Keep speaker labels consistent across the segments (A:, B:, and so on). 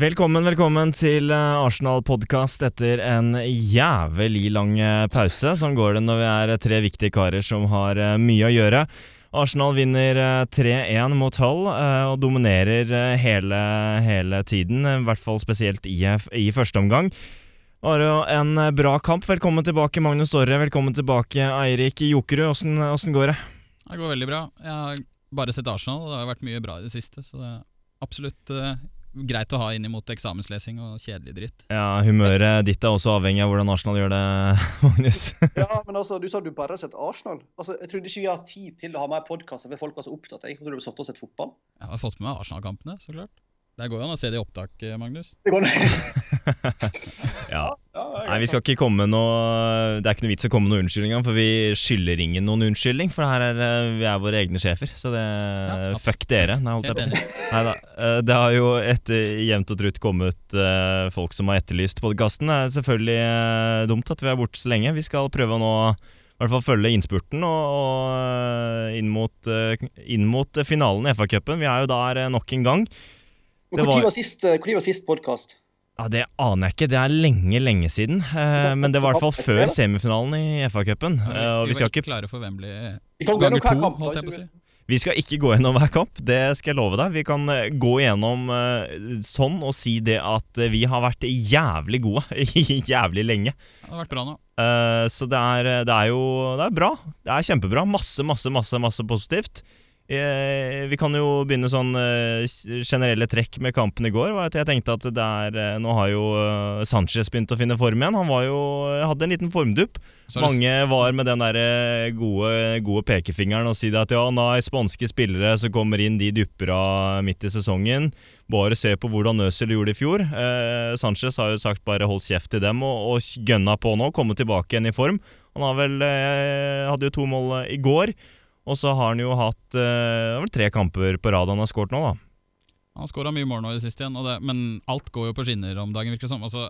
A: Velkommen velkommen til Arsenal-podkast etter en jævlig lang eh, pause. Sånn går det når vi er tre viktige karer som har eh, mye å gjøre. Arsenal vinner eh, 3-1 mot Hull eh, og dominerer eh, hele, hele tiden, eh, i hvert fall spesielt i, i første omgang. Are, en eh, bra kamp. Velkommen tilbake, Magnus Orre. Velkommen tilbake, Eirik Jokerud. Åssen åssen går det?
B: Det går veldig bra. Jeg har bare sett Arsenal, og det har vært mye bra i det siste. Så det er absolutt eh, greit å ha inn imot eksamenslesing og kjedelig dritt.
A: Ja, Humøret ditt er også avhengig av hvordan Arsenal gjør det, Magnus.
C: Ja, men altså, Du sa du bare har sett Arsenal. Altså, Jeg trodde ikke vi har tid til å ha mer podkaster fordi folk var så opptatt. Jeg trodde du satt og sett fotball.
B: Jeg har fått med meg Arsenal-kampene, så klart. Der går jo an å se det i opptak, eh, Magnus.
C: Det går ned.
A: Ja,
C: Ja, det er
A: Nei, vi
C: greit.
A: skal ikke komme med noe Det er ikke noe vits å komme med noen unnskyldning engang, for vi skylder ingen noen unnskyldning. For her er, eh, vi er våre egne sjefer, så det eh,
B: Ja, absolutt.
A: Fuck dere. Nei, holdt jeg
B: Helt
A: på. å si.
B: enig.
A: Neida, eh, Det har jo etter jevnt og trutt kommet eh, folk som har etterlyst podkasten. Det er selvfølgelig eh, dumt at vi er borte så lenge. Vi skal prøve å nå i hvert fall følge innspurten og, og eh, inn, mot, eh, inn mot finalen i FA-cupen. Vi er jo der eh, nok en gang.
C: Men
A: det
C: Når
A: var-
C: var sist, eh, hvor tid var sist podkast?
A: Ja, Det aner jeg ikke. Det er lenge, lenge siden. Eh, men det var i hvert fall før semifinalen i FA-cupen. Eh, og
B: Vi
A: vi, skal
B: var ikke
A: ikke-
B: klare for Wembley
C: Vi kan gå
B: ganger
C: gjennom hver
B: to,
C: kamp. da,
B: holdt jeg på å
C: ikke
B: si.
C: sant?
A: vi skal ikke gå gjennom hver kamp, det skal jeg love deg. Vi kan eh, gå gjennom eh, sånn og si det at eh, vi har vært jævlig gode jævlig lenge.
B: Det har vært bra nå.
A: Eh, så det er, det er jo Det er bra. Det er kjempebra. Masse, masse, masse, masse positivt. Eh, vi kan jo begynne sånn eh, generelle trekk med kampen i går. Var at jeg tenkte at det er eh, Nå har jo eh, Sanchez begynt å finne form igjen. Han var jo, eh, hadde en liten formdupp.
B: Så har det-
A: Mange var med den der eh, gode, gode pekefingeren og si det at ja, nei, spanske spillere som kommer inn, de dupper av midt i sesongen. Bare se på hvordan Øzil gjorde det i fjor. Eh, Sanchez har jo sagt bare hold kjeft til dem og, og gønna på nå, komme tilbake igjen i form. Han har vel, eh, hadde jo to mål eh, i går, og så har han jo hatt eh, det er vel tre kamper på rad han har skåret nå, da.
B: Han skåra mye mål nå i det siste igjen, og det, men alt går jo på skinner om dagen, virker det som. Altså,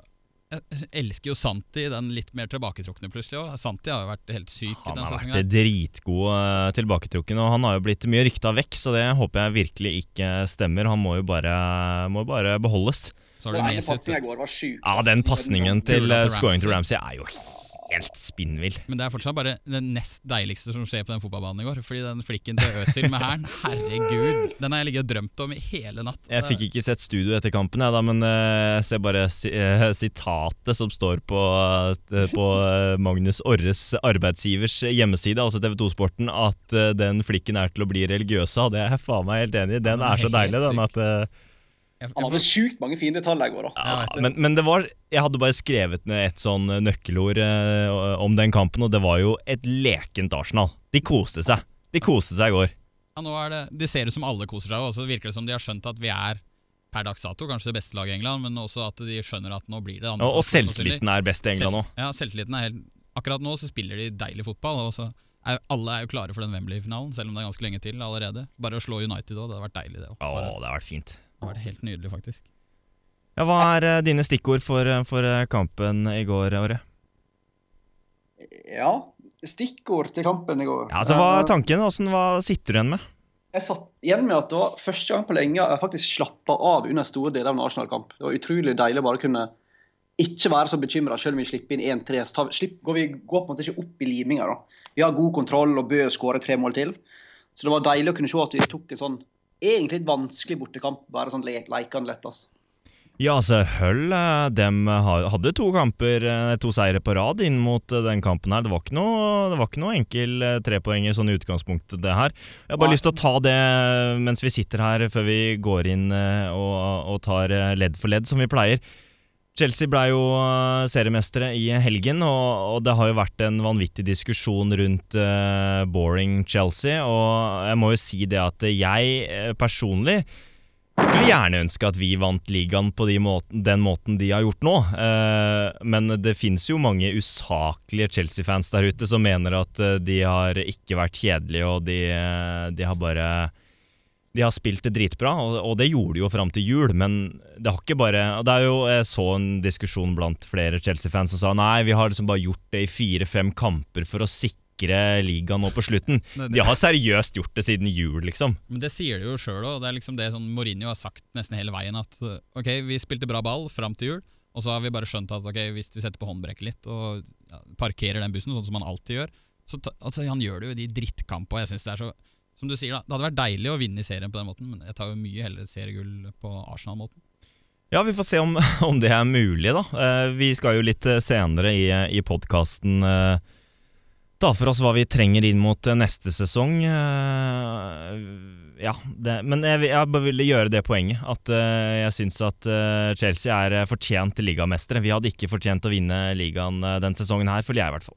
B: jeg s- elsker jo Santi, den litt mer tilbaketrukne plutselig òg. Santi har jo vært helt syk i
A: Han
B: den
A: har
B: sesongen. her.
A: vært dritgod eh, tilbaketrukken, og han har jo blitt mye rykta vekk, så det håper jeg virkelig ikke stemmer. Han må jo bare, må bare beholdes.
B: Så har
C: Og
B: du
C: ene
B: Mesut.
C: pasningen i går var sjuk.
A: Ja, den pasningen til eh,
B: Kula til
A: scoring til Ramsey er jo helt spinnvill.
B: Men det er fortsatt bare det nest deiligste som skjer på den fotballbanen i går. Fordi den flikken til Øsil med hæren, herregud, den har jeg ligget og drømt om i hele natt.
A: Jeg fikk ikke sett studio etter kampen, jeg da, men eh, jeg ser bare si, eh, sitatet som står på, eh, på eh, Magnus Orres arbeidsgivers hjemmeside, altså TV 2-sporten, at eh, den flikken er til å bli religiøs av. Det er jeg faen meg helt enig i. Den er så deilig, den at eh,
B: Jeg-
C: Han
B: jeg-
C: hadde sjukt mange fine tall i går, da.
B: Jeg
A: Ja,
B: vet det.
A: men, men det var Jeg hadde bare skrevet ned et sånn nøkkelord eh, om den kampen, og det var jo et lekent Arsenal. De koste seg. De koste seg i går.
B: ja, nå er det, de ser ut som alle koser seg, og så virker det som de har skjønt at vi er per dags dato kanskje det beste laget i England, men også at de skjønner at nå blir det andre.
A: Og, og selvtilliten er best i England nå.
B: Ja, selvtilliten er helt Akkurat nå så spiller de deilig fotball, og så er, alle er jo klare for den Wembley-finalen, selv om det er ganske lenge til allerede. Bare å slå United òg, det hadde vært deilig, det òg.
A: Å,
B: Det
A: det har vært fint.
B: hadde vært helt nydelig, faktisk.
A: Ja, Hva er eh, dine stikkord for, eh, for eh, kampen i går, Åre?
C: Ja. Stikkord til kampen i går.
A: Ja, altså, hva
C: Eh,
A: er tanken? Åssen hva sitter du igjen med?
C: Jeg satt igjen med at det var første gang på lenge jeg faktisk slappa av under store deler av en Arsenal-kamp. Det var utrolig deilig å bare kunne ikke være så bekymra selv om vi slipper inn 1-3. Så tar- slipp- går Vi går på en måte ikke opp i liminga. da. Vi har god kontroll, og Bø skårer tre mål til. Så det var deilig å kunne se at vi tok en sånn egentlig litt vanskelig bortekamp, bare sånn le leikende lett. ass.
A: Ja, altså, Hull eh, dem har- hadde to kamper, eh, to seire på rad inn mot eh, den kampen her. Det var ikke noe, det var ikke noe enkel eh, trepoenger sånn i utgangspunktet, det her. Jeg har bare
C: Nei.
A: lyst til å ta det eh, mens vi sitter her, før vi går inn eh, og, og tar eh, ledd for ledd, som vi pleier. Chelsea ble jo eh, seriemestere i helgen, og, og det har jo vært en vanvittig diskusjon rundt eh, boring Chelsea. Og jeg må jo si det at jeg eh, personlig skulle gjerne ønske at vi vant ligaen på de måten, den måten de har gjort nå. Eh, men det fins jo mange usaklige Chelsea-fans der ute som mener at eh, de har ikke vært kjedelige, og de, eh, de har bare de har spilt det dritbra, og, og det gjorde de jo fram til jul, men det har ikke bare og det er jo, Jeg så en diskusjon blant flere Chelsea-fans som sa nei, vi har liksom bare gjort det i fire-fem kamper for å sikre ligaen nå på slutten.
B: Nei, det-
A: De har seriøst gjort det siden jul, liksom.
B: Men det sier de jo sjøl òg. Det er liksom det sånn Mourinho har sagt nesten hele veien. At øh, ok, vi spilte bra ball fram til jul, og så har vi bare skjønt at ok, hvis vi setter på håndbrekket litt og ja, parkerer den bussen, sånn som han alltid gjør så ta, altså, Han gjør det jo i de drittkampene. Jeg synes det er så Som du sier, da. Det hadde vært deilig å vinne i serien på den måten, men jeg tar jo mye heller et seriegull på Arsenal-måten.
A: Ja, vi får se om, om det er mulig, da. Eh, vi skal jo litt eh, senere i, i podkasten eh, ta for oss hva vi trenger inn mot eh, neste sesong. Eh, ja, det, men jeg, vil- jeg bare ville gjøre det poenget at eh, jeg syns at eh, Chelsea er eh, fortjent ligamestere. Vi hadde ikke fortjent å vinne ligaen eh, den sesongen her, føler jeg i hvert fall.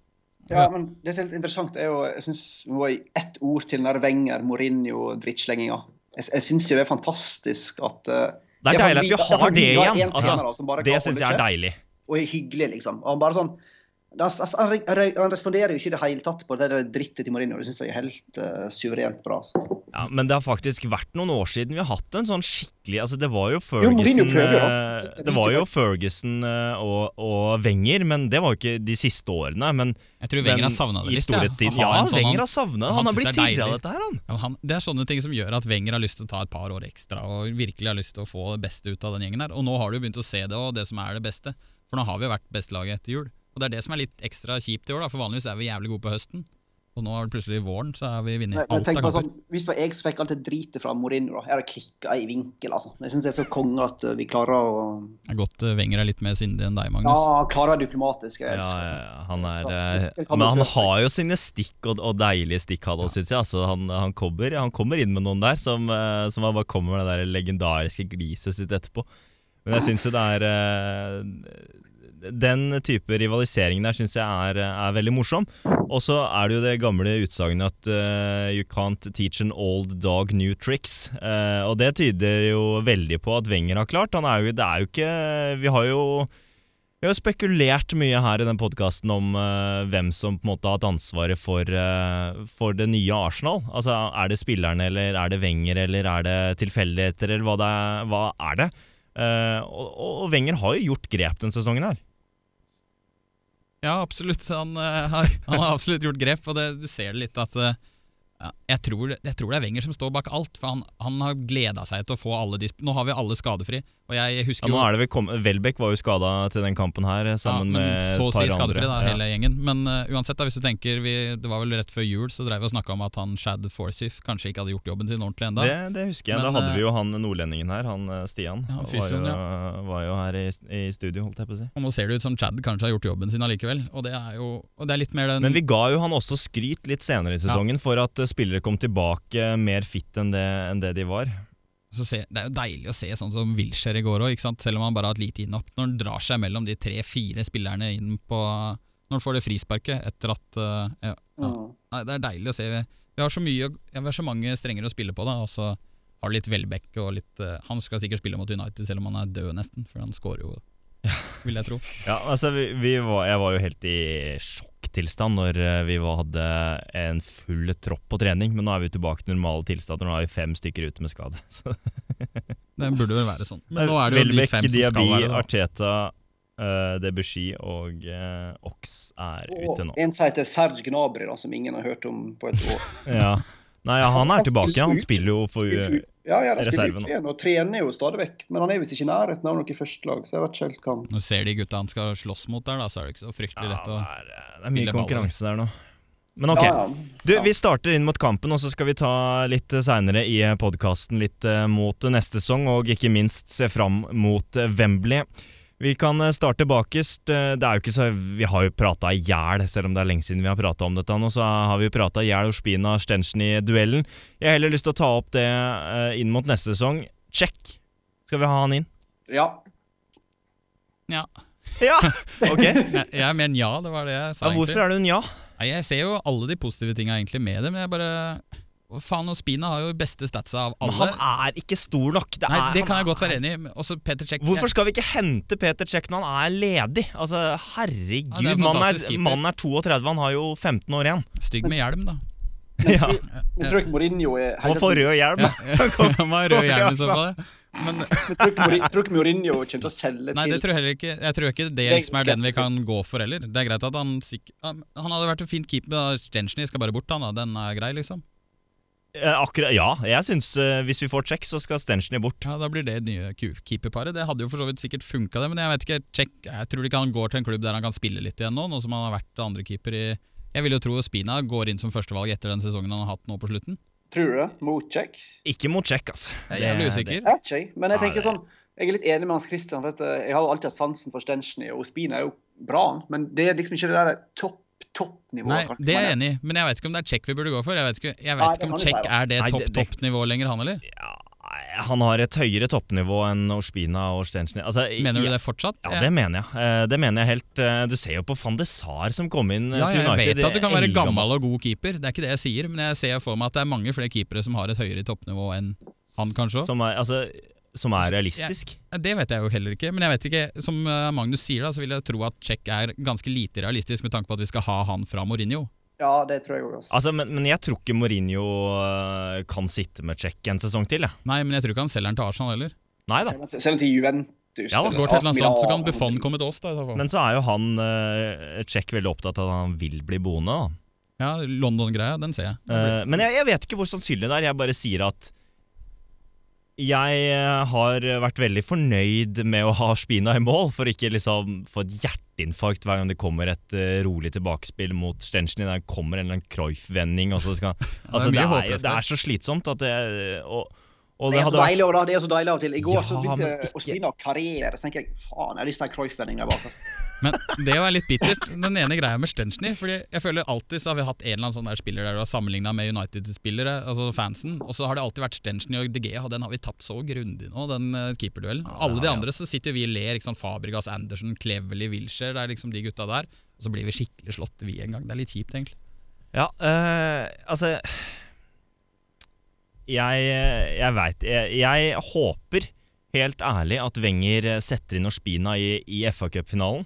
C: Ja, men det som er litt interessant, er jo jeg synes, vi må i ett ord til den der Wenger, Mourinho, drittslenginga. Jeg, jeg syns jo det er fantastisk at eh,
A: Det er
C: for
A: deilig at vi har det
C: har
A: igjen.
C: en trener,
A: Altså,
C: da, som bare
A: det
C: kan
A: syns jeg
C: holde
A: er
C: kjeft,
A: deilig.
C: Og er hyggelig, liksom. Og han bare sånn da- altså, han, re- re- han responderer jo ikke i det hele tatt på det der drittet til Mourinho. Det syns jeg er helt eh, suverent bra. Altså.
A: Ja, Men det har faktisk vært noen år siden vi har hatt en sånn skikkelig altså Det var jo
C: Mourinho
A: Ferguson
C: prøver,
A: eh, Det var jo Ferguson eh, og, og Wenger, men det var jo ikke de siste årene. Men,
B: Jeg tror
A: men
B: Wenger har savna det
A: i
B: litt. jeg.
A: storhetstiden.
B: Å ha
A: Ja,
B: en sånn han-
A: Wenger har savna det.
B: han
A: Han har
B: synes
A: blitt
B: det er
A: tidligere av
B: deilig.
A: dette her, han.
B: Ja, men han, det er sånne ting som gjør at Wenger har lyst til å ta et par år ekstra og virkelig har lyst til å få det beste ut av den gjengen her. Og nå har du begynt å se det og det som er det beste, for nå har vi jo vært bestelaget etter jul. Og det er det som er litt ekstra kjipt i år, da, for vanligvis er vi jævlig gode på høsten. Og nå er det plutselig våren, så er vi vunnet
C: Jeg,
B: alt
C: jeg
B: av
C: tenker bare
B: kamper.
C: sånn, Hvis det var jeg som fikk alt det dritet fra Mourinho, da, jeg hadde klikka i vinkel, altså. Jeg syns det er så konge at eh, vi klarer å
B: Det er godt eh, Wenger er litt mer sindig enn deg,
C: Ja,
B: Magnus.
C: han klarer å være diplomatisk.
A: Ja,
C: Jeg elsker det.
A: ja, han er,
C: Det
A: eh,
C: kan
A: men
C: du
A: han
C: prøve.
A: har jo sine stikk og, og deilige stikk, han også, syns jeg. Altså, han, han, kommer, han kommer inn med noen der som, eh, som han bare kommer med det der legendariske gliset sitt etterpå. Men jeg syns jo det er eh, Den type rivalisering der syns jeg er, eh, er veldig morsom. Og så er det jo det gamle utsagnet at eh, you can't teach an old dog new tricks. Eh, og det tyder jo veldig på at Wenger har klart. Han er jo, det er jo ikke Vi har jo vi har spekulert mye her i den podkasten om eh, hvem som på en måte har hatt ansvaret for, eh, for det nye Arsenal. Altså, Er det spillerne, eller er det Wenger, eller er det tilfeldigheter, eller hva, det er, hva er det? Eh, og, og Wenger har jo gjort grep den sesongen her.
B: Ja, absolutt. Han, eh, har, han har absolutt gjort grep, og det, du ser det litt at eh, ja, jeg, tror, det- jeg tror det er Wenger som står bak alt, for han, han har gleda seg til å få alle de sp- Nå har vi alle skadefri, og jeg
A: Ja,
B: husker
A: nå
B: jo
A: er det vel kom, Welbeck var jo skada til den kampen her, eh, sammen
B: men
A: med
B: Så å
A: et
B: si
A: par andre.
B: skadefri, da,
A: Ja.
B: hele gjengen. Men eh, uansett, da, hvis du tenker vi, Det var vel rett før jul, så drev vi og snakka om at han Shad Forsyth kanskje ikke hadde gjort jobben sin ordentlig ennå.
A: Det, det husker jeg.
B: Men,
A: da hadde
B: eh,
A: vi jo han nordlendingen her, han eh, Stian.
B: Ja,
A: Han var,
B: fysioen,
A: jo, var jo her i, i studio, holdt jeg på å si.
B: Og nå ser det ut som Chad kanskje har gjort jobben sin allikevel. Og det er jo og det er litt mer den
A: Men vi ga jo han også skryt litt senere i sesongen for at eh, spillere kom tilbake mer fit enn det, enn det de var.
B: så se, Det er jo deilig å se sånn som Wilshere i går òg, selv om han bare har et lite innhopp. Når han drar seg mellom de tre-fire spillerne inn på Når han får det frisparket etter at eh, ja, ja.
C: Mm.
B: Nei, Det er deilig å se. Vi har så, mye, å- ja, vi har så mange strenger å spille på, da. Og så har du litt Welbeck og litt eh, Han skal sikkert spille mot United, selv om han er død, nesten. For han scorer jo, vil jeg tro.
A: Ja, altså vi, vi var, Jeg var jo helt i sjokktilstand når eh, vi var, hadde en full tropp på trening. Men nå er vi tilbake til normale tilstander. Nå er vi fem stykker ute med skade. Så
B: Det burde vel være sånn. Men nå er det jo
A: Welbeck,
B: de fem som
A: Diaby,
B: skal være det. da.
A: Arteta, uh, Debussy og eh, Ox er ute nå.
C: Og en som heter Serge Gnabry, da, som ingen har hørt om på et år.
A: Ja. Nei, ja, han er tilbake. Han spiller jo for
C: Spiller ut- ja, ja, de spiller
A: reserven eh,
C: ut
A: nå.
C: igjen, og trener jo stadig vekk. Men han er visst ikke i nærheten av noe førstelag, så jeg vet ikke helt hva han
B: Nå ser de gutta han skal slåss mot der, da, så er det ikke så
A: Ja,
B: fryktelig
A: det
B: lett å
A: er, det er mye
B: spille baller.
A: konkurranse der nå. Men ok.
C: Ja, ja.
A: Du,
C: Ja.
A: Vi starter inn mot kampen, og så skal vi ta litt seinere i podkasten litt eh, mot neste sesong, og ikke minst se fram mot eh, Wembley. Vi kan eh, starte bakerst. Eh, Det er jo ikke så, vi har jo prata i hjel, selv om det er lenge siden vi har prata om dette nå. Så har vi prata i hjel Ospina og Stensen i duellen. Jeg har heller lyst til å ta opp det eh, inn mot neste sesong. Check! Skal vi ha han inn?
C: ja.
B: Nja.
A: Ja! Ok.
B: Jeg, jeg er mer enn ja, det var det jeg sa,
A: Ja, hvorfor
B: egentlig.
A: er det hun ja?
B: Nei, jeg ser jo alle de positive tinga egentlig med det, men jeg bare Å, Faen, Ospina har jo beste statsa av
A: Men
B: alle.
A: han er ikke stor nok. Det
B: Nei,
A: er,
B: det kan
A: han
B: jeg godt være enig i. men Også Peter Cech.
A: Hvorfor skal vi ikke hente Peter Cech når han er ledig? Altså,
B: Ja, det er
A: Herregud,
B: en
A: mannen
B: fantastisk
A: er,
B: keeper.
A: mannen er 32, han har jo 15 år igjen.
B: Stygg med hjelm, da.
A: Ja,
C: Jeg tror ikke Mourinho er
A: Og forrige hjelm.
B: Ja, han var rød hjelm i så fall. ja. Men
C: Jeg tror ikke Mourinho- jeg tror ikke Mourinho kommer til å selge
B: nei, det
C: til
B: tror jeg heller ikke Jeg tror ikke det liksom er den vi kan gå for heller. Det er greit at han sikk- Han han hadde vært en fin keeper, men Stensny skal bare bort, han da. Den er grei, liksom.
A: Eh, Akkurat, ja, jeg syns eh, hvis vi får check, så skal Stenchny bort.
B: Ja, Da blir det nye ku- keeperparet. Det hadde jo for så vidt sikkert funka, det, men jeg vet ikke Check, Jeg tror ikke han går til en klubb der han kan spille litt igjen nå, nå som han har vært andrekeeper i Jeg vil jo tro Spina går inn som førstevalg etter den sesongen han har hatt nå på slutten.
C: Tror du det? Motsjekk?
A: Ikke mot check, altså.
B: Jeg er jævlig usikker.
C: Jeg vet ikke, jeg. men jeg
A: Nei,
C: tenker
A: det-
C: sånn Jeg er litt enig med Hans Christian. For at eh, jeg har jo alltid hatt sansen for Stenchny, og Ospina er jo bra, han, men det er liksom ikke det der topp
B: Nei,
C: toppnivået. kanskje.
B: det er jeg enig i, men jeg vet ikke om det er check vi burde gå for. Jeg vet ikke, jeg vet
C: Nei, det
B: ikke om
C: kan vi
B: check
C: si,
B: er det
A: Nei, det- det-
B: topp-topp-nivå lenger, han eller?
A: Ja, han har et høyere toppnivå enn Ospina og Stenchny. Altså,
B: Mener du
A: ja,
B: det fortsatt?
A: Ja, det mener jeg. Eh, Det mener jeg helt. eh, Du ser jo på van de Sar som kom inn eh,
B: Ja,
A: til
B: jeg
A: United.
B: vet at du kan være
A: Eldgammel.
B: gammel og god keeper, det er ikke det jeg sier, men jeg ser for meg at det er mange flere keepere som har et høyere toppnivå enn han, kanskje. også.
A: Som er, altså, som er realistisk.
B: Ja, Det vet jeg jo heller ikke, men jeg vet ikke, som eh, Magnus sier, da, så vil jeg tro at check er ganske lite realistisk med tanke på at vi skal ha han fra Mourinho.
C: Ja, det tror jeg også.
A: Altså, men, men jeg tror ikke Mourinho eh, kan sitte med check en sesong til. Jeg.
B: Nei, men jeg tror ikke han selger han til Arsenal heller.
A: Nei da.
C: Selv om- Selv om til Juventus
A: Ja, da,
C: eller
B: Går til et
C: AC
B: eller annet sånt, så
C: Milan,
B: kan Buffon komme til oss, da. i så fall.
A: Men så er jo han eh, check veldig opptatt av at han vil bli boende. Da.
B: Ja, London-greia, den ser jeg.
A: Eh, men jeg, jeg vet ikke hvor sannsynlig det er. Jeg bare sier at jeg eh, har vært veldig fornøyd med å ha Spina i mål, for ikke liksom få et hjerteinfarkt hver gang det kommer et eh, rolig tilbakespill mot Stenchny. Der kommer en eller annen Cruyff-vending. og så skal- Altså,
B: mye
A: det, er,
B: håpløst
A: det
B: der.
A: er så slitsomt at det eh, og, og
C: Det
A: det
C: er så
A: hadde vært
C: deilig av det, det er så deilig av og til. I går
A: Ja,
C: så
A: men
C: begynte
A: ikke-
C: Ospina å karriere, så tenker jeg faen, jeg har lyst på en Cruyff-vending der bak. altså.
B: Men det var litt bittert, den ene greia med Stenchny. Fordi jeg føler alltid så har vi hatt en eller annen sånn der spiller der du har sammenligna med United-spillere, altså fansen, og så har det alltid vært Stenchny og DG, og den har vi tapt så grundig nå, den eh, keeperduellen. Alle de andre så sitter vi og ler, ikke sant, Fabregas, Andersen, Cleverly, Wilshere, det er liksom de gutta der. Og så blir vi skikkelig slått, vi en gang. Det er litt kjipt, egentlig.
A: Ja, eh, altså Jeg, jeg veit jeg, jeg håper helt ærlig at Wenger setter inn Ospina i, i FA-cupfinalen.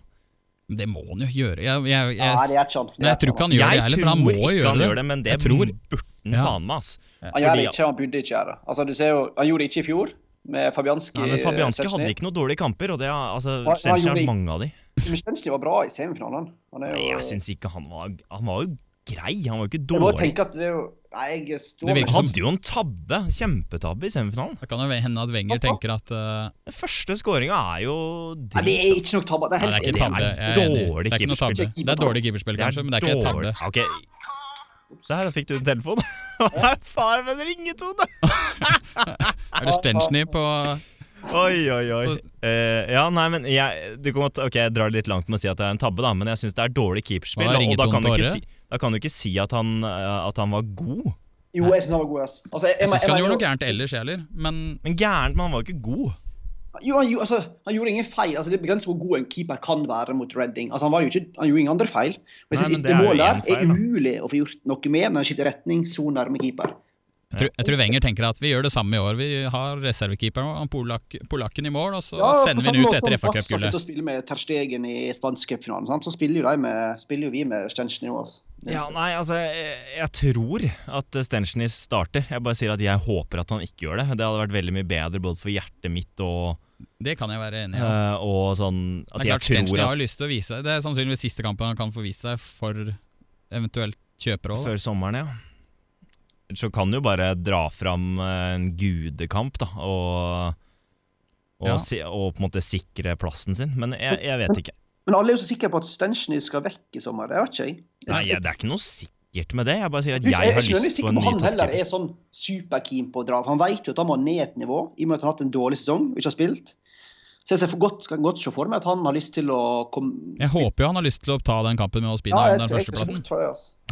B: Men det må han jo gjøre. Jeg, jeg, jeg,
C: Nei, det er ikke sant. Det
B: Nei, jeg
C: er
B: tror ikke
C: ikke
B: han
C: sant.
B: gjør det
A: Jeg tror
B: heller, men han må
A: ikke
B: gjøre
A: han
B: det.
A: gjør det, men det
B: jeg tror.
A: burde han
B: Ja.
A: faen meg, ass.
C: Han gjør det
A: Fordi-
C: ikke, han burde ikke gjøre det. Altså, du ser jo, han gjorde det ikke i fjor, med Fabianski.
A: Nei, men Fabianski hadde ikke noen dårlige kamper, og det har altså, Stenchny
C: gjorde
A: har
C: ikke-
A: mange av de.
C: Men Stenchny var bra i semifinalen. Han er jo
A: Nei, jeg syns ikke han var Han var jo grei, han var jo ikke
C: Jeg må jo
A: altså, dårlig.
C: tenke at det er jo Nei, jeg står
B: Det virker
A: Han
B: som-
A: hadde jo en tabbe, kjempetabbe, i semifinalen.
B: Det kan jo hende at Wenger tenker at eh,
A: Den første skåringa er jo
C: Nei, det er ikke nok tabbe. Det
B: Nei, det er
C: er helt
B: ikke
A: Det er
B: tabbe. Jeg er enig.
A: dårlig
B: Det er ikke noe
A: keeperspill.
B: tabbe. Det er dårlig keeperspill,
A: Det er
B: kanskje, men det er ikke tabbe.
A: dårlig. Ok. Der fikk du en telefon. Hva er far med en ringetone?
B: Er det Stenchny på
A: Oi, oi, oi. Eh, ja, nei, men jeg, det kan godt, ok, jeg drar det litt langt med å si at det er en tabbe, da, men jeg syns det er dårlig keeperspill.
B: Hva er
A: Og da kan, du
B: ringetone
A: ikke
B: til
A: si, da kan du ikke si at han, eh, at han var god.
C: Jo, jeg syns han var god, ass. Altså, jeg,
B: Jeg syns ikke han
C: mener
B: gjorde
C: jo-
B: noe gærent ellers, jeg heller, men
A: Men gærent, men han var jo ikke god.
C: Jo, han, gjorde- altså, han gjorde ingen feil. Altså, det begrenser hvor god en keeper kan være mot Redding. Altså, han, var jo ikke, han gjorde ingen andre feil. Og jeg
A: Nei,
C: synes
A: men
C: ikke
A: det er jo
C: målet
A: en
C: der
A: feil,
C: er
A: da.
C: umulig å få gjort noe med når han skifter retning så nærme keeper.
B: jeg tror, jeg tror Wenger tenker at vi gjør det samme i år. Vi har reservekeeperen og han polak, polakken i mål, og så sender vi han ut etter FA-cupgullet.
C: Å spille med Ter Stegen i spansk cupfinalen, sant, så spiller jo, de med, spiller jo vi med Stenchny òg, altså. Det er
A: Ja,
C: jo-
A: nei, altså, jeg, jeg tror at Stenchny starter. Jeg bare sier at jeg håper at han ikke gjør det. Det hadde vært veldig mye bedre både for hjertet mitt og,
B: Det kan jeg være enig i. ja.
A: eh, og sånn
B: Det
A: At
B: er
A: jeg
B: klart Stenchny
A: tror at
B: har lyst til å vise seg. Det er sannsynligvis siste kampen han kan få vise seg for eventuelt kjøpere òg.
A: Før sommeren, ja. Så kan du jo bare dra fram eh, en gudekamp, da, og og,
B: Ja.
A: si, og på en måte sikre plassen sin. Men jeg, jeg vet ikke.
C: Men alle er jo så sikre på at Stenchny skal vekk i sommer. Det vet ikke jeg.
A: Nei, jeg, det er ikke noe sikkert med det. Jeg bare sier at
C: Jeg,
A: jeg
C: er
A: har
C: ikke
A: lyst på
C: sikker på
A: en ny
C: han heller
A: toppkeeper.
C: er sånn superkeen på å dra. for Han vet jo at han må ned et nivå i og med at han har hatt en dårlig sesong og ikke har spilt. Så jeg ser for godt, kan godt se for meg at han har lyst til å komme
B: Jeg håper jo han har lyst til å ta den kampen med Ospina om den førsteplassen.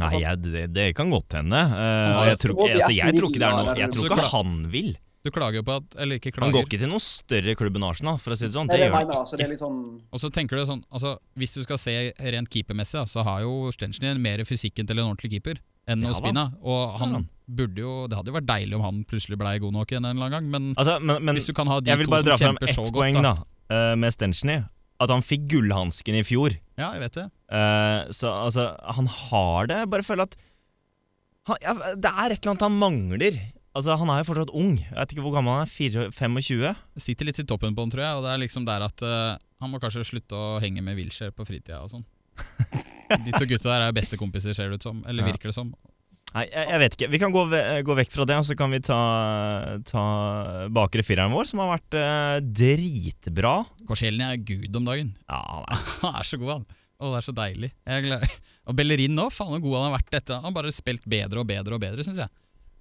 A: Nei, jeg, det, det kan godt hende. Eh,
B: har-
A: jeg, tror, ikke- altså, jeg tror ikke det er noe Jeg tror
B: Så
A: ikke
B: klart.
A: han vil.
B: Du klager jo på at Eller ikke
A: Han går
B: klager.
A: ikke til noen større klubb enn Arsenal, for å si det sånn.
C: Det,
A: Det
C: det,
A: gjør han
C: mener, altså, det
A: ikke.
C: er litt sånn
B: Og så tenker du sånn altså, Hvis du skal se rent keepermessig, da, så har jo Stenchny mer fysikken til en ordentlig keeper enn
A: Ja da.
B: Ospina. Og
A: Ja da.
B: han burde jo Det hadde jo vært deilig om han plutselig blei god nok igjen en eller annen gang, men
A: Altså, men, men
B: hvis du kan ha de
A: jeg vil
B: to
A: bare
B: som
A: dra fram
B: kjemper
A: ett
B: så godt,
A: poeng da, eh, med Stenchny. At han fikk gullhansken i fjor.
B: Ja, jeg vet det.
A: Eh, så altså, han har det. Jeg Bare føler at han, ja, Det er et eller annet han mangler. Altså, Han er jo fortsatt ung. Jeg vet ikke hvor gammel han er. 4, 25?
B: Sitter litt i toppen på den, tror jeg. Og det er liksom der at eh, han må kanskje slutte å henge med Wilshere på fritida og sånn. De to gutta der er jo bestekompiser, ser det ut som. Eller
A: Ja.
B: virker det som.
A: Nei, jeg, jeg vet ikke. Vi kan gå, ve gå vekk fra det, og så kan vi ta, ta bakre fireren vår, som har vært eh, dritbra.
B: Korselen er gud om dagen.
A: Ja, han er-
B: Han er så god, han. Å, det er så deilig. Jeg er glad. Og Bellerin nå, faen hvor god han har vært etter. Han har bare spilt bedre og bedre og bedre, syns jeg.